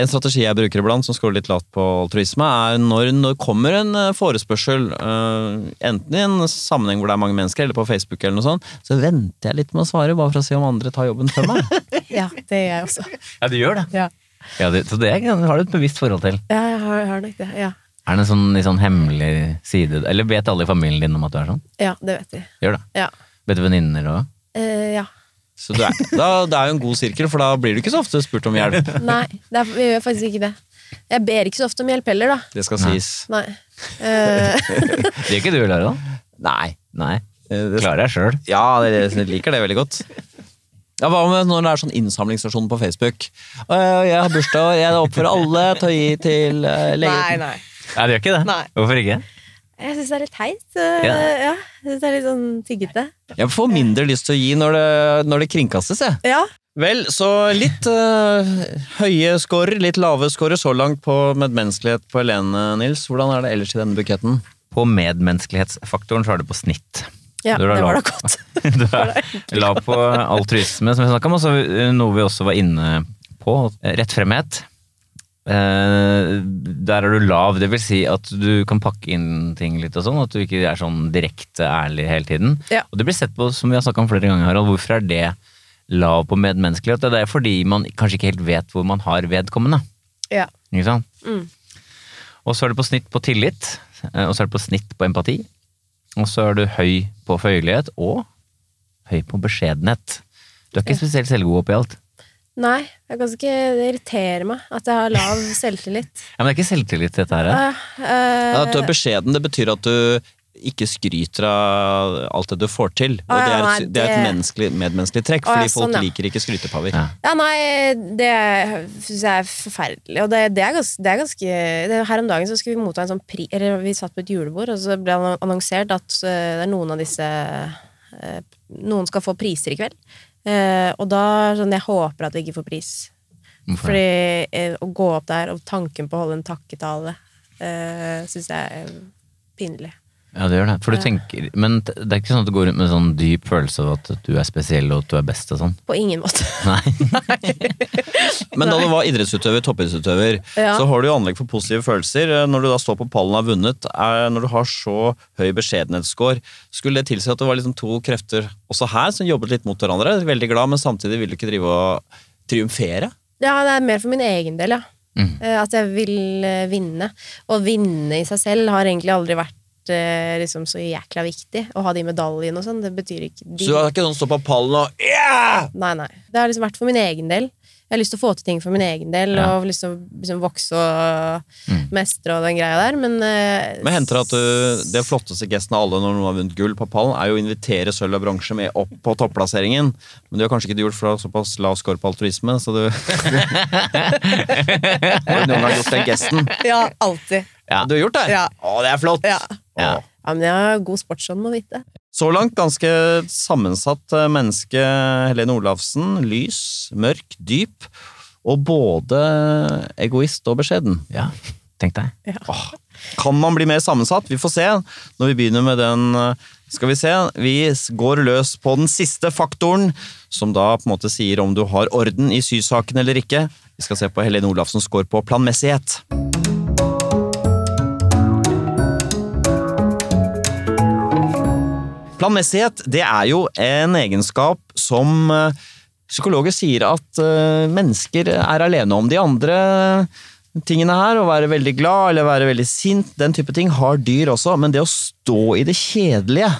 [SPEAKER 2] En strategi jeg bruker iblant, som skårer litt lavt på altruisme, er når det kommer en eh, forespørsel, eh, enten i en sammenheng hvor det er mange mennesker, eller på Facebook, eller noe sånt, så venter jeg litt med å svare, bare for å se om andre tar jobben før meg.
[SPEAKER 4] Ja, det gjør jeg også.
[SPEAKER 3] Ja, du gjør det.
[SPEAKER 4] Ja,
[SPEAKER 3] Ja, det, så det har du et bevisst forhold til.
[SPEAKER 4] jeg har, jeg har nok det. Ja.
[SPEAKER 3] Er det en sånn, litt sånn hemmelig side Eller vet alle i familien din om at du er sånn?
[SPEAKER 4] ja, det vet jeg.
[SPEAKER 3] Gjør det.
[SPEAKER 4] Ja.
[SPEAKER 3] Vet du venninner òg?
[SPEAKER 4] Eh, ja.
[SPEAKER 2] Så det er, da, det er jo en god sirkel, for da blir du ikke så ofte spurt om hjelp.
[SPEAKER 4] Nei, det er, jeg gjør faktisk ikke det. Jeg ber ikke så ofte om hjelp heller, da.
[SPEAKER 2] Det skal sies.
[SPEAKER 4] Nei. Eh,
[SPEAKER 3] Det gjør ikke du, Lara?
[SPEAKER 2] Nei.
[SPEAKER 3] Nei.
[SPEAKER 2] eh, Det
[SPEAKER 3] Klarer jeg sjøl.
[SPEAKER 2] Ja, dere liker det veldig godt. Ja, Hva med når det er sånn innsamlingsstasjon på Facebook? Øh, Jeg har bursdag, og jeg oppfører alle til å gi til øh,
[SPEAKER 4] nei,
[SPEAKER 2] legen.
[SPEAKER 4] nei.
[SPEAKER 3] Nei, det gjør ikke det.
[SPEAKER 4] Nei.
[SPEAKER 3] Hvorfor ikke?
[SPEAKER 4] Jeg syns det er litt teit. eh,
[SPEAKER 3] Ja.
[SPEAKER 4] ja. Jeg syns det er litt sånn tyggete.
[SPEAKER 2] Jeg får mindre lyst til å gi når det, når det kringkastes, jeg.
[SPEAKER 4] Ja.
[SPEAKER 2] Vel, så litt øh, høye scorer, litt lave scorer så langt på medmenneskelighet på Helene, Nils. Hvordan er det ellers i denne buketten?
[SPEAKER 3] På medmenneskelighetsfaktoren så er du på snitt.
[SPEAKER 4] ja
[SPEAKER 3] Du
[SPEAKER 4] det
[SPEAKER 3] er
[SPEAKER 4] var da
[SPEAKER 3] lav.
[SPEAKER 4] godt.
[SPEAKER 3] Du er lav på altruisme, som vi snakka om, og så eh, noe vi også var inne på. eh, Rettfremhet. Eh, der er du lav, det vil si at du kan pakke inn ting litt og sånn, at du ikke er sånn direkte ærlig hele tiden.
[SPEAKER 4] Ja.
[SPEAKER 3] Og det blir sett på, som vi har snakka om flere ganger, Harald, hvorfor er det lav på medmenneskelighet? Det er fordi man kanskje ikke helt vet hvor man har vedkommende.
[SPEAKER 4] Ja.
[SPEAKER 3] Ikke sant?
[SPEAKER 4] Mm.
[SPEAKER 3] Og så er det på snitt på tillit, eh, og så er det på snitt på empati. Og så er du høy på føyelighet, og høy på beskjedenhet. Du er ikke spesielt selvgod oppi alt.
[SPEAKER 4] Nei, jeg er ganske, det irriterer meg at jeg har lav selvtillit.
[SPEAKER 3] Ja, men det er ikke selvtillit, dette her.
[SPEAKER 4] Eh, eh,
[SPEAKER 2] At du er beskjeden, det betyr at du ikke skryter av alt det du får til. Og
[SPEAKER 4] Ah,
[SPEAKER 2] det
[SPEAKER 4] ja,
[SPEAKER 2] er
[SPEAKER 4] nei,
[SPEAKER 2] et, det er et
[SPEAKER 4] det-
[SPEAKER 2] menneskelig, medmenneskelig trekk,
[SPEAKER 4] Å, ja,
[SPEAKER 2] fordi folk
[SPEAKER 4] sånn, ja.
[SPEAKER 2] liker ikke skrytepaver.
[SPEAKER 3] Ja.
[SPEAKER 4] Ja, nei, det syns jeg er forferdelig. Og det, det, er ganske, det er ganske det, Her om dagen så skulle vi motta en sånn pri... Eller vi satt på et julebord, og så ble det annonsert at eh, det er noen av disse eh, Noen skal få priser i kveld. Eh, og da sånn Jeg håper at vi ikke får pris.
[SPEAKER 3] Hvorfor det?
[SPEAKER 4] Fordi eh, å gå opp der og tanken på å holde en takketale eh, syns jeg er pinlig.
[SPEAKER 3] Ja, det gjør det. For du
[SPEAKER 4] Ja.
[SPEAKER 3] tenker, men t- det er ikke sånn at du går rundt med en sånn dyp følelse av at du er spesiell og at du er best og sånn.
[SPEAKER 4] På ingen måte.
[SPEAKER 3] Nei.
[SPEAKER 2] Men da du var idrettsutøver, toppidrettsutøver,
[SPEAKER 4] Ja.
[SPEAKER 2] så har du jo anlegg for positive følelser. eh, Når du da står på pallen og har vunnet, er, når du har så høy beskjedenhetsscore, skulle det tilsi at det var liksom to krefter også her som jobbet litt mot hverandre? Veldig glad, men samtidig vil du ikke drive og triumfere?
[SPEAKER 4] Ja, det er mer for min egen del, ja.
[SPEAKER 3] Mm.
[SPEAKER 4] Eh, At jeg vil eh, vinne. Og å vinne i seg selv har egentlig aldri vært eh, liksom, så jækla viktig. Å ha de medaljene og sånn, det betyr ikke
[SPEAKER 2] Så
[SPEAKER 4] de.
[SPEAKER 2] du er ikke sånn stå på pallen og yeah!
[SPEAKER 4] Nei, nei. Det har liksom vært for min egen del. Jeg har lyst til å få til ting for min egen del,
[SPEAKER 3] Ja.
[SPEAKER 4] og lyst til å liksom, vokse og
[SPEAKER 3] Mm.
[SPEAKER 4] mestre og den greia der, men eh,
[SPEAKER 2] Men henter det at du, det flotteste gesten av alle når noen har vunnet gull på pallen, er jo å invitere sølv og bronse med opp på topplasseringen. Men det har kanskje ikke du gjort for du har såpass lav score på altruisme, så du Har du noen gang gjort den gesten?
[SPEAKER 4] Ja, alltid.
[SPEAKER 3] Ja.
[SPEAKER 2] Du har gjort det?
[SPEAKER 4] Ja.
[SPEAKER 2] Å, det er flott!
[SPEAKER 4] Ja.
[SPEAKER 3] Ja.
[SPEAKER 2] Å.
[SPEAKER 4] Ja, men jeg har god sportsånd, må vite.
[SPEAKER 2] Så langt ganske sammensatt eh, menneske, Helene Olafsen. Lys, mørk, dyp. Og både egoist og beskjeden.
[SPEAKER 3] Ja, tenk deg.
[SPEAKER 2] Åh, kan man bli mer sammensatt? Vi får se når vi begynner med den eh, Skal vi se. Vi s- går løs på den siste faktoren, som da på en måte sier om du har orden i sysaken eller ikke. Vi skal se på Helene Olafsens score på planmessighet. Planmessighet det er jo en egenskap som eh, psykologer sier at eh, mennesker er alene om. De andre tingene her, å være veldig glad eller være veldig sint, den type ting har dyr også. Men det å stå i det kjedelige,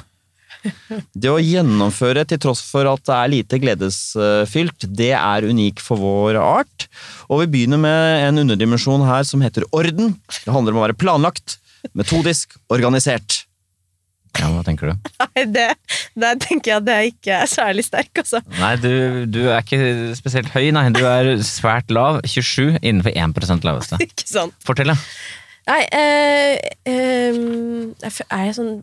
[SPEAKER 2] det å gjennomføre til tross for at det er lite gledesfylt, det er unik for vår art. Og vi begynner med en underdimensjon her som heter orden. Det handler om å være planlagt, metodisk, organisert.
[SPEAKER 3] Ja, hva tenker du?
[SPEAKER 4] Nei, det, der tenker jeg at jeg ikke er særlig sterk, altså.
[SPEAKER 3] Nei, du, du er ikke spesielt høy, nei. Du er svært lav. 27 innenfor 1 laveste.
[SPEAKER 4] Ikke sånn. sant?
[SPEAKER 3] Fortell, da.
[SPEAKER 4] Nei, eh, ehm, jeg fø- er jeg sånn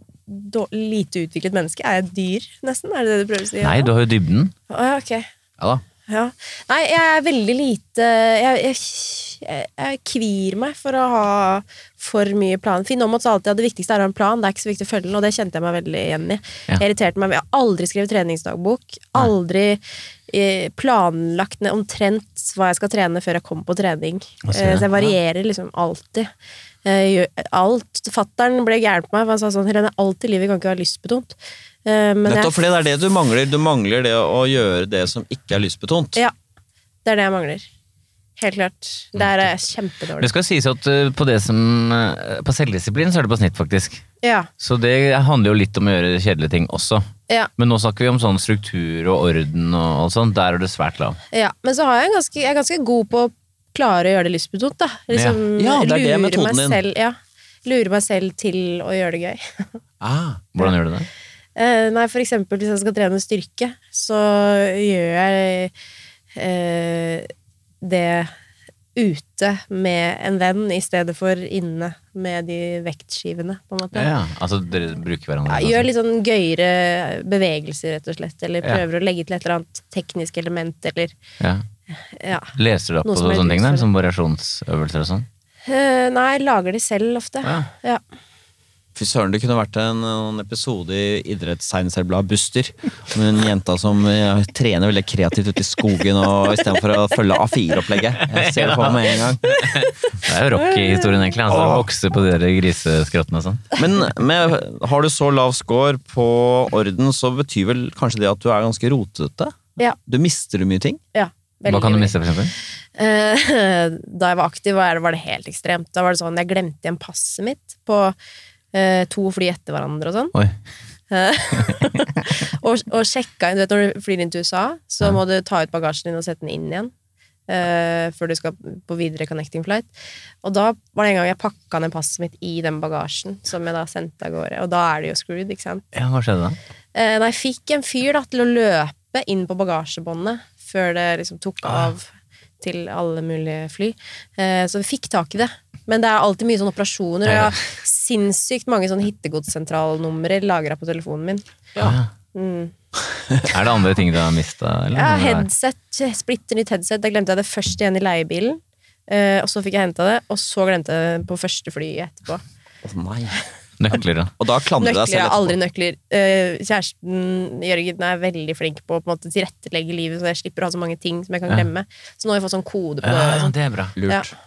[SPEAKER 4] dår- lite utviklet menneske? Er jeg et dyr, nesten? Er det det du prøver å si?
[SPEAKER 3] Nei, du har jo dybden.
[SPEAKER 4] Å, ja, ok.
[SPEAKER 2] Ja da.
[SPEAKER 4] Ja. Nei, jeg er veldig lite Jeg, jeg, jeg, jeg kvir meg for å ha for mye planer. Finn Aamodt sa alltid at det viktigste er å ha en plan, det er ikke så viktig å følge den, og det kjente jeg meg veldig igjen i.
[SPEAKER 3] Ja.
[SPEAKER 4] Jeg irriterte meg, jeg har aldri skrevet treningsdagbok. Aldri eh, planlagt ned omtrent hva jeg skal trene før jeg kommer på trening.
[SPEAKER 3] Jeg ser
[SPEAKER 4] Eh,
[SPEAKER 3] det.
[SPEAKER 4] så jeg varierer liksom alltid. Eh, gjør alt. Fattern ble gæren på meg, for han sa sånn Helene, alt i livet kan ikke være lystbetont. Eh, men jeg-
[SPEAKER 2] Nettopp fordi det er det du mangler. Du mangler det å gjøre det som ikke er lystbetont.
[SPEAKER 4] Ja, det er det jeg mangler. Helt klart. Der er jeg kjempedårlig.
[SPEAKER 3] Det skal sies at uh, på, det som, uh, på selvdisiplin så er det på snitt, faktisk.
[SPEAKER 4] Ja,
[SPEAKER 3] Så det handler jo litt om å gjøre kjedelige ting også.
[SPEAKER 4] ja,
[SPEAKER 3] Men nå snakker vi om sånn struktur og orden og alt sånt. Der er du svært lav.
[SPEAKER 4] ja. Men så har jeg en ganske, jeg er ganske god på å klare å gjøre det lystbetont, da. Liksom,
[SPEAKER 2] Ja. Ja, det er det
[SPEAKER 4] lure
[SPEAKER 2] metoden
[SPEAKER 4] meg
[SPEAKER 2] din.
[SPEAKER 4] Selv, ja, lure meg selv til å gjøre det gøy.
[SPEAKER 2] Ah.
[SPEAKER 3] Hvordan gjør du det?
[SPEAKER 4] Eh, nei, for eksempel hvis jeg skal trene styrke, så gjør jeg eh, det ute med en venn i stedet for inne med de vektskivene, på en måte.
[SPEAKER 3] Ja, ja. Altså, dere bruker hverandre.
[SPEAKER 4] Ja,
[SPEAKER 3] altså.
[SPEAKER 4] gjør litt sånn gøyere bevegelser, rett og slett. Eller
[SPEAKER 3] Ja.
[SPEAKER 4] prøver å legge til et eller annet teknisk element, eller
[SPEAKER 3] Ja.
[SPEAKER 4] ja.
[SPEAKER 3] Leser du opp
[SPEAKER 4] Noe
[SPEAKER 3] på
[SPEAKER 4] som er
[SPEAKER 3] sånne ting der?
[SPEAKER 4] utfordrende.
[SPEAKER 3] Som variasjonsøvelser og sånn?
[SPEAKER 4] Eh, nei, lager de selv ofte.
[SPEAKER 3] Ja.
[SPEAKER 4] Ja.
[SPEAKER 2] Fy søren, det kunne vært en, en episode i idrettstegneseriebladet Buster. Om en jenta som ja, trener veldig kreativt ute i skogen og istedenfor å følge A4-opplegget. Jeg ser det på meg med en gang.
[SPEAKER 3] Det er jo Rocky-historien, egentlig. Altså,
[SPEAKER 2] Åh.
[SPEAKER 3] Vokse på de der griseskrottene og sånn.
[SPEAKER 2] Men med, har du så lav score på orden, så betyr vel kanskje det at du er ganske rotete?
[SPEAKER 4] Ja.
[SPEAKER 2] Du mister mye ting.
[SPEAKER 4] ja veldig
[SPEAKER 3] Hva kan du
[SPEAKER 4] mye.
[SPEAKER 3] miste, for eksempel?
[SPEAKER 4] Eh, da jeg var aktiv, var det, var det helt ekstremt. Da var det sånn, jeg glemte igjen passet mitt på eh, to fly etter hverandre og sånn.
[SPEAKER 3] Oi.
[SPEAKER 4] Og, og sjekka inn, du vet når du flyr inn til USA, så
[SPEAKER 3] Ja.
[SPEAKER 4] må du ta ut bagasjen din og sette den inn igjen. eh, før du skal på videre connecting flight. Og da var det en gang jeg pakka ned passet mitt i den bagasjen som jeg da sendte av gårde. Og da er det jo screwed, ikke sant.
[SPEAKER 3] Ja, hva skjedde da?
[SPEAKER 4] Eh, nei, fikk en fyr da til å løpe inn på bagasjebåndet før det liksom tok av til alle mulige fly. Eh, så vi fikk tak i det. Men det er alltid mye sånne operasjoner. Og jeg har sinnssykt mange sånne hittegodssentralnumre lagra på telefonen min.
[SPEAKER 3] Ja.
[SPEAKER 4] Mm.
[SPEAKER 3] Er det andre ting du har mista?
[SPEAKER 4] Ja, headset. Splitter nytt headset. Da glemte jeg det først igjen i leiebilen. Eh, og så fikk jeg henta det, og så glemte jeg det på første fly etterpå.
[SPEAKER 2] Å nei.
[SPEAKER 3] Nøkler, da.
[SPEAKER 2] Og da klandrer du deg
[SPEAKER 4] Nøkler
[SPEAKER 2] selv
[SPEAKER 4] er aldri
[SPEAKER 2] etterpå.
[SPEAKER 4] nøkler. Eh, kjæresten Jørgen er veldig flink på å på en måte tilrettelegge livet, så jeg slipper å ha så mange ting som jeg kan
[SPEAKER 3] Ja.
[SPEAKER 4] glemme. Så nå har jeg fått sånn kode på
[SPEAKER 3] Ja,
[SPEAKER 4] døra. og
[SPEAKER 3] ja,
[SPEAKER 4] sånn.
[SPEAKER 3] det er bra.
[SPEAKER 4] Ja.
[SPEAKER 2] Lurt.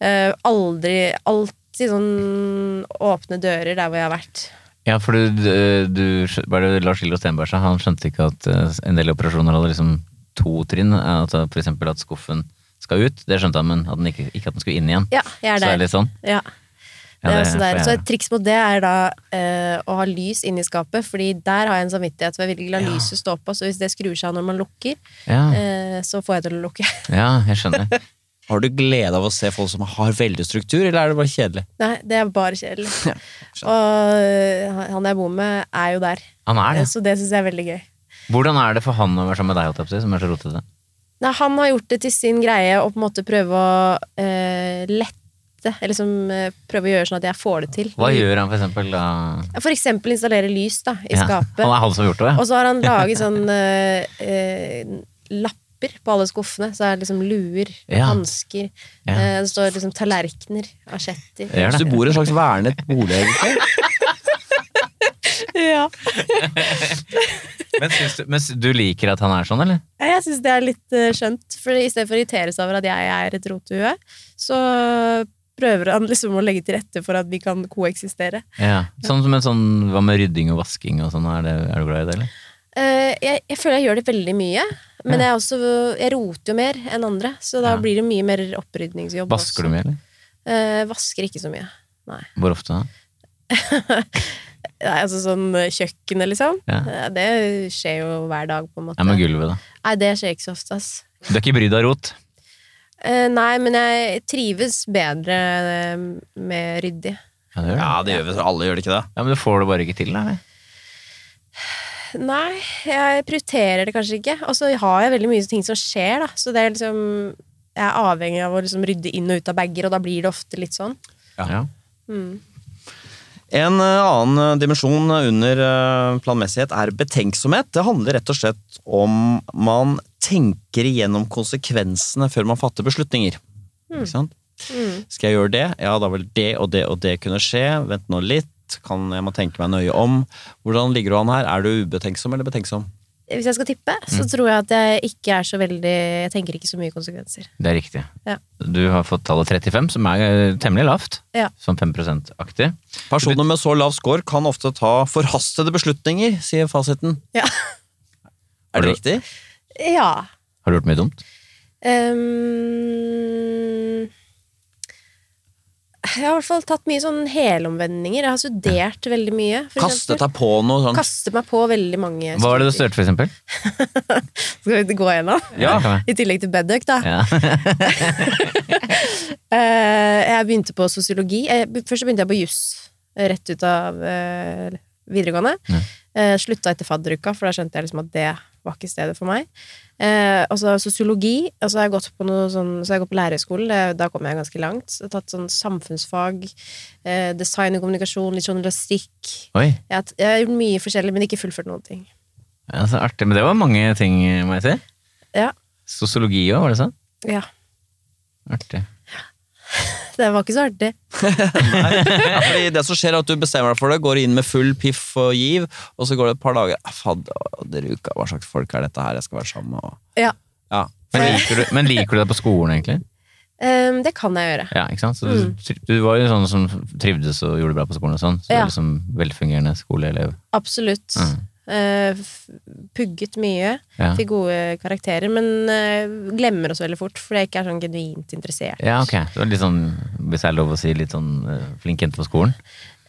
[SPEAKER 4] Eh, aldri Alltid sånn åpne dører der hvor jeg har vært.
[SPEAKER 3] Ja, for du, du, du hva er det Lars Lillo Stenberg sa, han skjønte ikke at eh, en del operasjoner hadde liksom to trinn. At eh, for eksempel at skuffen skal ut, det skjønte han, men at den ikke, ikke at den skulle inn igjen.
[SPEAKER 4] Ja, jeg er
[SPEAKER 3] Så det
[SPEAKER 4] der.
[SPEAKER 3] er litt sånn. Ja,
[SPEAKER 4] Ja. det er
[SPEAKER 3] det
[SPEAKER 4] også der.
[SPEAKER 3] får jeg
[SPEAKER 4] Så
[SPEAKER 3] gjøre.
[SPEAKER 4] et triks mot det er da eh, å ha lys inni skapet, Fordi der har jeg en samvittighet for jeg vil ikke la
[SPEAKER 3] Ja. Mm.
[SPEAKER 4] lyset stå på. Så hvis det skrur seg av når man lukker,
[SPEAKER 3] Ja,
[SPEAKER 4] eh, så får jeg det til å lukke.
[SPEAKER 3] ja jeg skjønner.
[SPEAKER 2] Har du glede av å se folk som har veldig struktur, eller er det bare kjedelig?
[SPEAKER 4] Nei, det er bare kjedelig. Og eh, han jeg bor med, er jo der.
[SPEAKER 3] Han er det.
[SPEAKER 4] Så det syns jeg er veldig gøy.
[SPEAKER 3] Hvordan er det for han å være sammen med deg, holdt jeg på å si, som er så rotete?
[SPEAKER 4] Nei, han har gjort det til sin greie å på en måte prøve å eh, lette Eller liksom eh, prøve å gjøre sånn at jeg får det til.
[SPEAKER 3] Hva gjør han for eksempel da?
[SPEAKER 4] For eksempel installere lys da, i
[SPEAKER 3] Ja,
[SPEAKER 4] skapet.
[SPEAKER 3] Han er han som har gjort det, ja.
[SPEAKER 4] Og så har han laget sånn eh, eh, lapper på alle skuffene. Så er det liksom luer,
[SPEAKER 3] Ja.
[SPEAKER 4] hansker
[SPEAKER 3] Ja.
[SPEAKER 4] eh, Det står liksom tallerkener, asjetter.
[SPEAKER 3] Det gjør
[SPEAKER 2] Så du
[SPEAKER 3] det.
[SPEAKER 2] bor i en slags vernet bolig, egentlig?
[SPEAKER 4] Ja.
[SPEAKER 3] Men, syns du, men s- du liker at han er sånn, eller?
[SPEAKER 4] Jeg syns det er litt eh, skjønt. For i stedet for å irritere seg over at jeg er et rotehue, så prøver han liksom å legge til rette for at vi kan koeksistere.
[SPEAKER 3] Ja. Sånn som en sånn, hva med rydding og vasking og sånn, er, det, er du glad i det, eller?
[SPEAKER 4] Eh, jeg, jeg føler jeg gjør det veldig mye, men jeg, er også, jeg roter jo mer enn andre. Så da
[SPEAKER 3] Ja.
[SPEAKER 4] blir det mye mer opprydningsjobb. Eh,
[SPEAKER 3] Vasker du mye, eller?
[SPEAKER 4] vasker ikke så mye. Nei.
[SPEAKER 3] Hvor ofte da?
[SPEAKER 4] Nei, altså sånn eh, kjøkkenet, liksom.
[SPEAKER 3] Ja.
[SPEAKER 4] Eh, Det skjer jo hver dag, på en måte.
[SPEAKER 3] Nei, men gulvet da.
[SPEAKER 4] Nei, det skjer ikke så ofte, ass.
[SPEAKER 3] Du er ikke brydd av rot?
[SPEAKER 4] Eh, nei, men jeg trives bedre eh, med ryddig.
[SPEAKER 3] Ja, det gjør
[SPEAKER 2] Ja,
[SPEAKER 3] det.
[SPEAKER 2] det gjør vi. Alle gjør det ikke det.
[SPEAKER 3] Ja, men du får det bare ikke til, da? eller?
[SPEAKER 4] Nei, jeg prioriterer det kanskje ikke. Og så har jeg veldig mye ting som skjer, da. Så det er liksom Jeg er avhengig av å liksom rydde inn og ut av bager, og da blir det ofte litt sånn.
[SPEAKER 2] Ja.
[SPEAKER 3] Ja.
[SPEAKER 4] Mm.
[SPEAKER 2] En eh, annen eh, dimensjon under eh, planmessighet er betenksomhet. Det handler rett og slett om man tenker igjennom konsekvensene før man fatter beslutninger.
[SPEAKER 4] Hmm.
[SPEAKER 2] Ikke sant?
[SPEAKER 4] Mm.
[SPEAKER 2] Skal jeg gjøre det? Ja, da vil det og det og det kunne skje. Vent nå litt. Kan jeg må tenke meg nøye om. Hvordan ligger du an her? Er du ubetenksom eller betenksom?
[SPEAKER 4] Hvis jeg skal tippe, så
[SPEAKER 3] Mm.
[SPEAKER 4] tror jeg at jeg ikke er så veldig Jeg tenker ikke så mye konsekvenser.
[SPEAKER 3] Det er riktig.
[SPEAKER 4] Ja.
[SPEAKER 3] Du har fått tallet 35, som er eh, temmelig lavt.
[SPEAKER 4] Ja.
[SPEAKER 3] Sånn 5 %-aktig.
[SPEAKER 2] Personer med så lav score kan ofte ta forhastede beslutninger, sier fasiten.
[SPEAKER 4] Ja.
[SPEAKER 2] Er det riktig?
[SPEAKER 4] ja.
[SPEAKER 3] Har du gjort mye dumt?
[SPEAKER 4] Ehm, jeg har i hvert fall tatt mye sånn helomvendinger. Jeg har studert veldig mye. For
[SPEAKER 2] Kastet
[SPEAKER 4] eksempel.
[SPEAKER 2] deg på noe sånn
[SPEAKER 4] Kastet meg på veldig mange
[SPEAKER 3] Hva var det du
[SPEAKER 4] studier.
[SPEAKER 3] studerte, for eksempel?
[SPEAKER 4] Skal vi gå gjennom?
[SPEAKER 3] Ja.
[SPEAKER 4] I tillegg til Bedøk, da.
[SPEAKER 3] Ja.
[SPEAKER 4] Eh, jeg begynte på sosiologi. Eh, be- først så begynte jeg på juss eh, rett ut av eh, videregående.
[SPEAKER 3] Ja.
[SPEAKER 4] Eh, slutta etter fadderuka, for da skjønte jeg liksom at det var ikke stedet for meg. Eh, og så sosiologi, og så har jeg gått på noe sånn, så har jeg gått på lærerskolen. Det, da kom jeg ganske langt. Så jeg har tatt sånn samfunnsfag, eh, design og kommunikasjon, litt sånn journalistikk.
[SPEAKER 3] Oi,
[SPEAKER 4] Jeg har, t- jeg har gjort mye forskjellig, men ikke fullført noen ting.
[SPEAKER 3] ja, så artig. Men det var mange ting, må jeg si.
[SPEAKER 4] Ja.
[SPEAKER 3] Sosiologi òg, var det sånn?
[SPEAKER 4] ja.
[SPEAKER 3] Artig.
[SPEAKER 4] Det var ikke så artig.
[SPEAKER 2] Ja, fordi det som skjer er at du bestemmer deg for det, går inn med full piff og giv, og så går det et par dager. «Ah, Fadderuka, hva slags folk er dette her jeg skal være sammen med? Og...
[SPEAKER 4] Ja.
[SPEAKER 2] Ja.
[SPEAKER 3] Men liker, du, men liker du deg på skolen, egentlig?
[SPEAKER 4] Ehm, det kan jeg gjøre.
[SPEAKER 3] Ja, ikke sant? Så
[SPEAKER 4] Mm.
[SPEAKER 3] du, du var jo sånn som trivdes og gjorde det bra på skolen og sånn. Så du
[SPEAKER 4] Ja.
[SPEAKER 3] er liksom velfungerende skoleelev.
[SPEAKER 4] Absolutt.
[SPEAKER 3] Mm.
[SPEAKER 4] Eh, f- pugget mye.
[SPEAKER 3] Ja.
[SPEAKER 4] Fikk gode karakterer, men eh, glemmer oss veldig fort, fordi jeg ikke er sånn genuint interessert.
[SPEAKER 3] Ja, ok. Det var litt sånn, hvis det er lov å si, litt sånn eh, flink jente på skolen.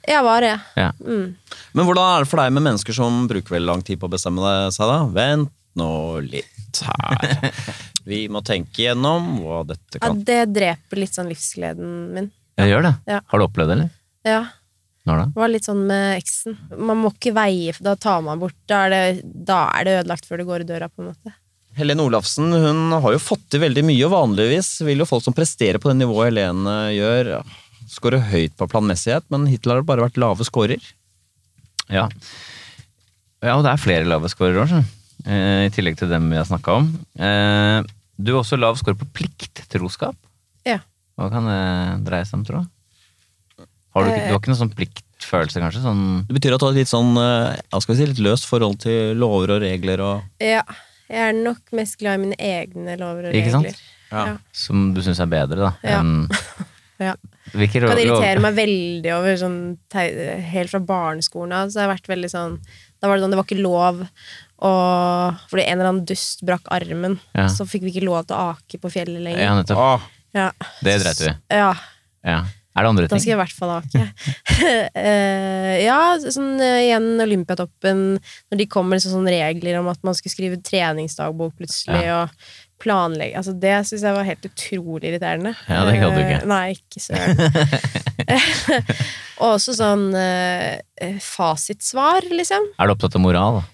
[SPEAKER 4] Jeg var det.
[SPEAKER 3] Ja.
[SPEAKER 4] Mm.
[SPEAKER 2] Men hvordan er det for deg med mennesker som bruker veldig lang tid på å bestemme deg- seg, da? Vent nå litt her. Vi må tenke igjennom hva dette
[SPEAKER 4] Ja,
[SPEAKER 2] kan
[SPEAKER 4] det dreper litt sånn livsgleden min.
[SPEAKER 3] Jeg gjør det.
[SPEAKER 4] Ja.
[SPEAKER 3] Har du opplevd det, eller?
[SPEAKER 4] Ja,
[SPEAKER 3] Når da?
[SPEAKER 4] det var litt sånn med eksen. Man må ikke veie, for da tar man bort. Da er det, da er det ødelagt før det går i døra, på en måte.
[SPEAKER 2] Helene Olafsen hun har jo fått til veldig mye, og vanligvis vil jo folk som presterer på det nivået Helene gjør, skåre høyt på planmessighet, men hittil har det bare vært lave scorer.
[SPEAKER 3] Ja. Ja, og det er flere lave scorer år, Eh, i tillegg til dem vi har snakka om. Eh, Du har også lav score på plikt, troskap.
[SPEAKER 4] Ja.
[SPEAKER 3] Hva kan det dreie seg om, tro? Har du, ikke, du har ikke noen sånn pliktfølelse, kanskje? Sånn,
[SPEAKER 2] Det betyr at du har et litt sånn, eh, hva skal vi si, litt løst forhold til lover og regler og
[SPEAKER 4] Ja. Jeg er nok mest glad i mine egne lover og
[SPEAKER 3] Ikke sant?
[SPEAKER 4] regler.
[SPEAKER 2] Ja.
[SPEAKER 3] som du syns er bedre, da.
[SPEAKER 4] Ja.
[SPEAKER 3] enn-
[SPEAKER 4] Ja.
[SPEAKER 3] Hvilke
[SPEAKER 4] kan
[SPEAKER 3] ro- ro-
[SPEAKER 4] irritere meg veldig over sånn tei- Helt fra barneskolen av så har jeg vært veldig sånn Da var det sånn, det var ikke lov og, Fordi en eller annen dust brakk armen
[SPEAKER 3] Ja.
[SPEAKER 4] Så fikk vi ikke lov til å ake på fjellet
[SPEAKER 3] Ja,
[SPEAKER 4] lenger
[SPEAKER 3] nettopp.
[SPEAKER 2] Åh,
[SPEAKER 4] Ja,
[SPEAKER 3] Det dreit vi i.
[SPEAKER 4] ja
[SPEAKER 3] Ja. Er det andre
[SPEAKER 4] da
[SPEAKER 3] ting?
[SPEAKER 4] skal jeg i hvert fall ake Eh, Ja, sånn eh, igjen Olympiatoppen Når de kommer med sånne regler om at man skulle skrive treningsdagbok plutselig Og planlegge Altså det synes jeg var helt utrolig irriterende
[SPEAKER 3] Ja, det gadd du ikke.
[SPEAKER 4] Eh, Nei, ikke søren Og også sånn eh, eh, fasitsvar, liksom.
[SPEAKER 3] Er du opptatt av moral? da?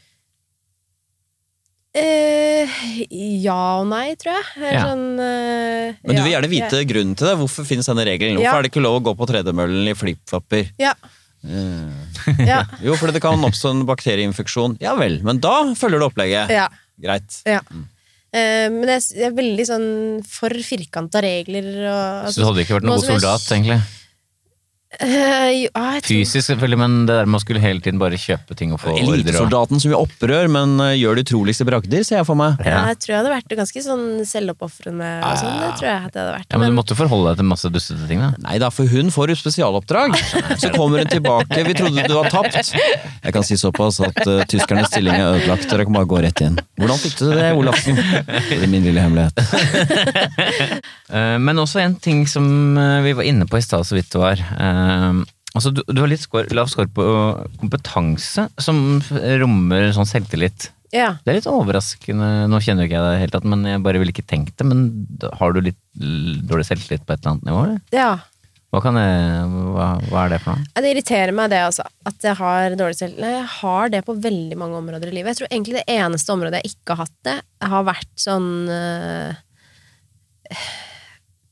[SPEAKER 4] Eh, ja og nei, tror jeg. Eh,
[SPEAKER 3] Ja.
[SPEAKER 4] Sånn, eh,
[SPEAKER 2] Men du vil
[SPEAKER 4] ja,
[SPEAKER 2] gjerne vite grunnen til det. Hvorfor finnes denne regelen? Hvorfor
[SPEAKER 4] Ja.
[SPEAKER 2] er det ikke lov å gå på tredemøllen i flipflopper?
[SPEAKER 4] Ja,
[SPEAKER 2] Eh,
[SPEAKER 4] ja,
[SPEAKER 2] Jo, fordi det kan oppstå en bakterieinfeksjon. Ja vel, men da følger du opplegget.
[SPEAKER 4] ja,
[SPEAKER 2] Greit.
[SPEAKER 4] ja.
[SPEAKER 3] Mm.
[SPEAKER 4] Eh, men jeg, s- jeg er veldig sånn for firkanta regler og
[SPEAKER 3] Så du hadde ikke vært noen
[SPEAKER 4] nå
[SPEAKER 3] god
[SPEAKER 4] som jeg
[SPEAKER 3] soldat,
[SPEAKER 4] s-
[SPEAKER 3] egentlig?
[SPEAKER 4] Eh, jo, ah, jeg tror-
[SPEAKER 3] Fysisk, selvfølgelig, men det der med å skulle hele tiden bare kjøpe ting og få ordre og
[SPEAKER 2] Elitesoldaten som gjør opprør, men eh, gjør de utroligste bragder, ser jeg for meg.
[SPEAKER 4] Ja, jeg tror jeg hadde vært ganske sånn selvoppofrende og sånn. Det tror jeg at jeg hadde vært.
[SPEAKER 3] Ah, Ja, men du måtte forholde deg til masse dustete ting, da.
[SPEAKER 2] Nei da, for hun får jo spesialoppdrag. Så kommer hun tilbake. Vi trodde du var tapt. Jeg kan si såpass at eh, tyskernes stilling er ødelagt. Dere kan bare gå rett inn. Hvordan fikk du det, Olafsen? Det er min lille hemmelighet.
[SPEAKER 3] Eh, Men også en ting som eh, vi var inne på i stad, så vidt det var. Eh, Altså, du, du har litt score, lav score på kompetanse, som f- rommer sånn selvtillit.
[SPEAKER 4] ja.
[SPEAKER 3] Det er litt overraskende. Nå kjenner jo ikke jeg deg helt, men jeg bare ville ikke tenkt det. Men da- har du litt l- dårlig selvtillit på et eller annet nivå? Eller?
[SPEAKER 4] ja.
[SPEAKER 3] Hva, kan jeg, hva, hva er det for noe?
[SPEAKER 4] Ja, Det irriterer meg, det, altså. At jeg har dårlig selv... Nei, jeg har det på veldig mange områder i livet. Jeg tror egentlig det eneste området jeg ikke har hatt det, har vært sånn øh,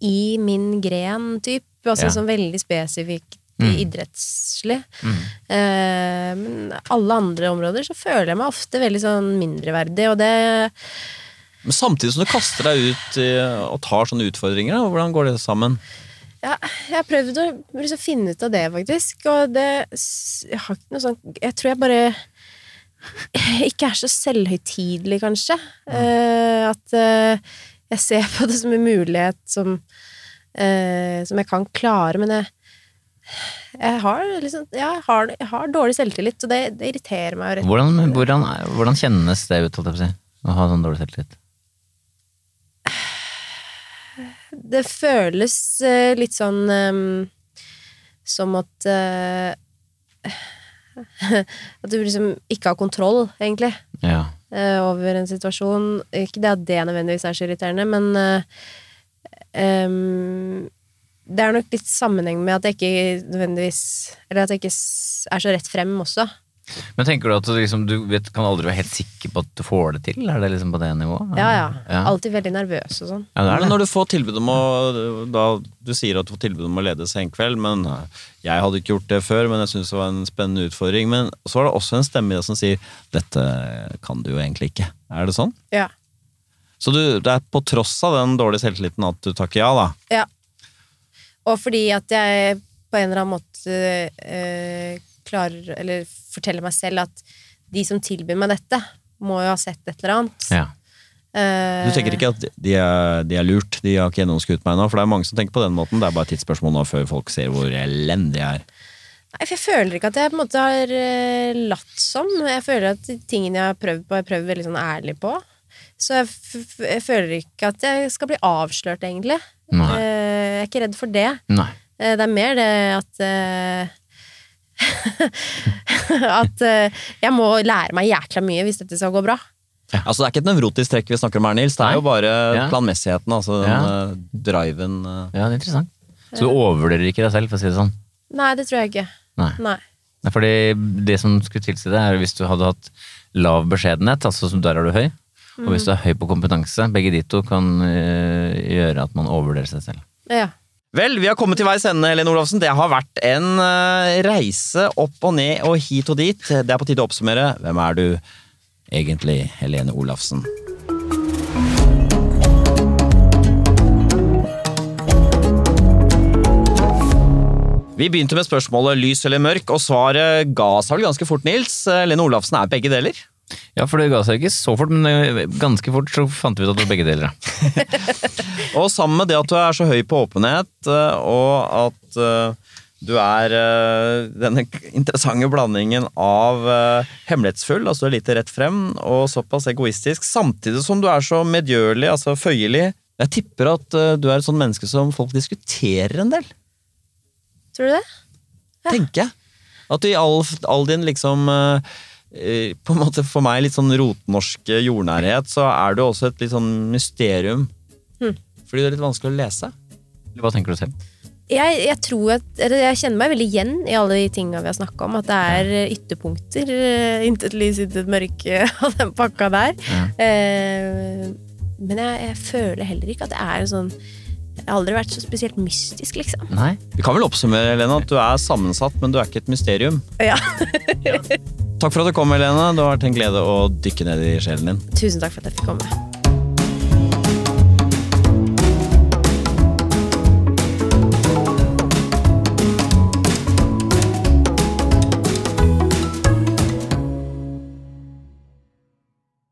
[SPEAKER 4] I min gren, type. Altså
[SPEAKER 3] Ja.
[SPEAKER 4] sånn veldig spesifikt
[SPEAKER 3] Mm.
[SPEAKER 4] idrettslig. Eh, men alle andre områder så føler jeg meg ofte veldig sånn mindreverdig, og det
[SPEAKER 2] Men samtidig som du kaster deg ut eh, og tar sånne utfordringer, da, hvordan går det sammen?
[SPEAKER 4] Ja, jeg har prøvd å liksom finne ut av det, faktisk. Og det s- Jeg har ikke noe sånn Jeg tror jeg bare ikke er så selvhøytidelig, kanskje. Eh, at eh, jeg ser på det som en mulighet som eh, Som jeg kan klare, men jeg jeg har, liksom, ja, jeg, har, jeg har dårlig selvtillit, og det, det irriterer meg. Rett.
[SPEAKER 3] Hvordan, hvordan, hvordan kjennes det ut, holdt jeg på å si? Å ha sånn dårlig selvtillit?
[SPEAKER 4] Det føles eh, litt sånn ehm, som at eh, At du liksom ikke har kontroll, egentlig,
[SPEAKER 3] Ja.
[SPEAKER 4] eh, over en situasjon. Ikke det at det nødvendigvis er så irriterende, men eh, ehm, det er nok litt sammenheng med at jeg ikke nødvendigvis Eller at jeg ikke s- er så rett frem også.
[SPEAKER 3] Men tenker du at du, liksom, du vet, kan aldri være helt sikker på at du får det til? Er det liksom på det nivået?
[SPEAKER 4] Ja, ja.
[SPEAKER 3] Ja,
[SPEAKER 4] Alltid veldig nervøs og sånn.
[SPEAKER 3] Ja, det er
[SPEAKER 2] Men
[SPEAKER 3] det.
[SPEAKER 2] når du får tilbud om å da, Du sier at du får tilbud om å lede Senkveld, men eh, jeg hadde ikke gjort det før, men jeg syns det var en spennende utfordring. Men så er det også en stemme i deg som sier 'dette kan du jo egentlig ikke'. Er det sånn?
[SPEAKER 4] Ja.
[SPEAKER 2] Så du, det er på tross av den dårlige selvtilliten at du takker ja, da.
[SPEAKER 4] Ja. Og fordi at jeg på en eller annen måte eh, klarer Eller forteller meg selv at de som tilbyr meg dette, må jo ha sett et eller annet.
[SPEAKER 3] Ja.
[SPEAKER 4] Eh,
[SPEAKER 2] Du tenker ikke at de er, de er lurt, de har ikke gjennomskutt meg nå, for det er mange som tenker på den måten. Det er bare et tidsspørsmål nå før folk ser hvor elendig jeg er.
[SPEAKER 4] Nei, for jeg føler ikke at jeg på en måte har eh, latt som. Jeg føler at de tingene jeg har prøvd på, har jeg prøvd veldig sånn ærlig på. Så jeg, f f jeg føler ikke at jeg skal bli avslørt, egentlig.
[SPEAKER 3] Nei.
[SPEAKER 4] Eh, jeg er ikke redd for det.
[SPEAKER 3] Nei.
[SPEAKER 4] Eh, Det er mer det at eh, At eh, jeg må lære meg jækla mye hvis dette skal gå bra.
[SPEAKER 2] Altså Det er ikke et nevrotisk trekk vi snakker om her, Nils. Det er jo bare
[SPEAKER 3] Ja.
[SPEAKER 2] planmessigheten, altså den
[SPEAKER 3] Ja.
[SPEAKER 2] eh, driven. eh.
[SPEAKER 3] Ja, det er interessant. Så du overvurderer ikke deg selv, for å si det sånn?
[SPEAKER 4] Nei, det tror jeg ikke.
[SPEAKER 3] Nei.
[SPEAKER 4] Nei.
[SPEAKER 3] Nei, Fordi det som skulle tilsi det, er hvis du hadde hatt lav beskjedenhet, altså som der er du høy, og eh, hvis du er høy på kompetanse, begge de to kan øh, gjøre at man overvurderer seg selv.
[SPEAKER 4] Ja.
[SPEAKER 2] Vel, vi har kommet til veis ende, Helene Olafsen. Det har vært en eh, reise opp og ned og hit og dit. Det er på tide å oppsummere. Hvem er du egentlig, Helene Olafsen? Vi begynte med spørsmålet lys eller mørk, og svaret ga seg vel ganske fort, Nils. Helene Olafsen er begge deler.
[SPEAKER 3] Ja, for det ga seg ikke så fort, men eh, ganske fort så fant vi ut at det var begge deler. ja.
[SPEAKER 2] Og sammen med det at du er så høy på åpenhet, eh, og at eh, du er eh, denne interessante blandingen av eh, hemmelighetsfull, altså du er lite rett frem, og såpass egoistisk, samtidig som du er så medgjørlig, altså føyelig. Jeg tipper at eh, du er et sånt menneske som folk diskuterer en del,
[SPEAKER 4] Tror du det?
[SPEAKER 2] tenker jeg. At du i all, all din liksom eh, eh, på en måte For meg litt sånn rotnorske jordnærhet, så er du også et litt sånn mysterium.
[SPEAKER 4] Hm.
[SPEAKER 2] Fordi det er litt vanskelig å lese.
[SPEAKER 3] Hva tenker du selv?
[SPEAKER 4] Jeg, jeg, tror at, eller jeg kjenner meg veldig igjen i alle de tinga vi har snakka om. At det er eh, ytterpunkter. eh, Intet lys, intet mørke og den pakka der.
[SPEAKER 3] Ja.
[SPEAKER 4] Eh, men jeg, jeg føler heller ikke at det er en sånn Jeg har aldri vært så spesielt mystisk, liksom.
[SPEAKER 3] Nei?
[SPEAKER 2] Vi kan vel oppsummere Helene, at du er sammensatt, men du er ikke et mysterium.
[SPEAKER 4] Ja.
[SPEAKER 2] Takk for at du kom, Helene. Det har vært en glede å dykke ned i sjelen din.
[SPEAKER 4] Tusen takk for at jeg fikk komme.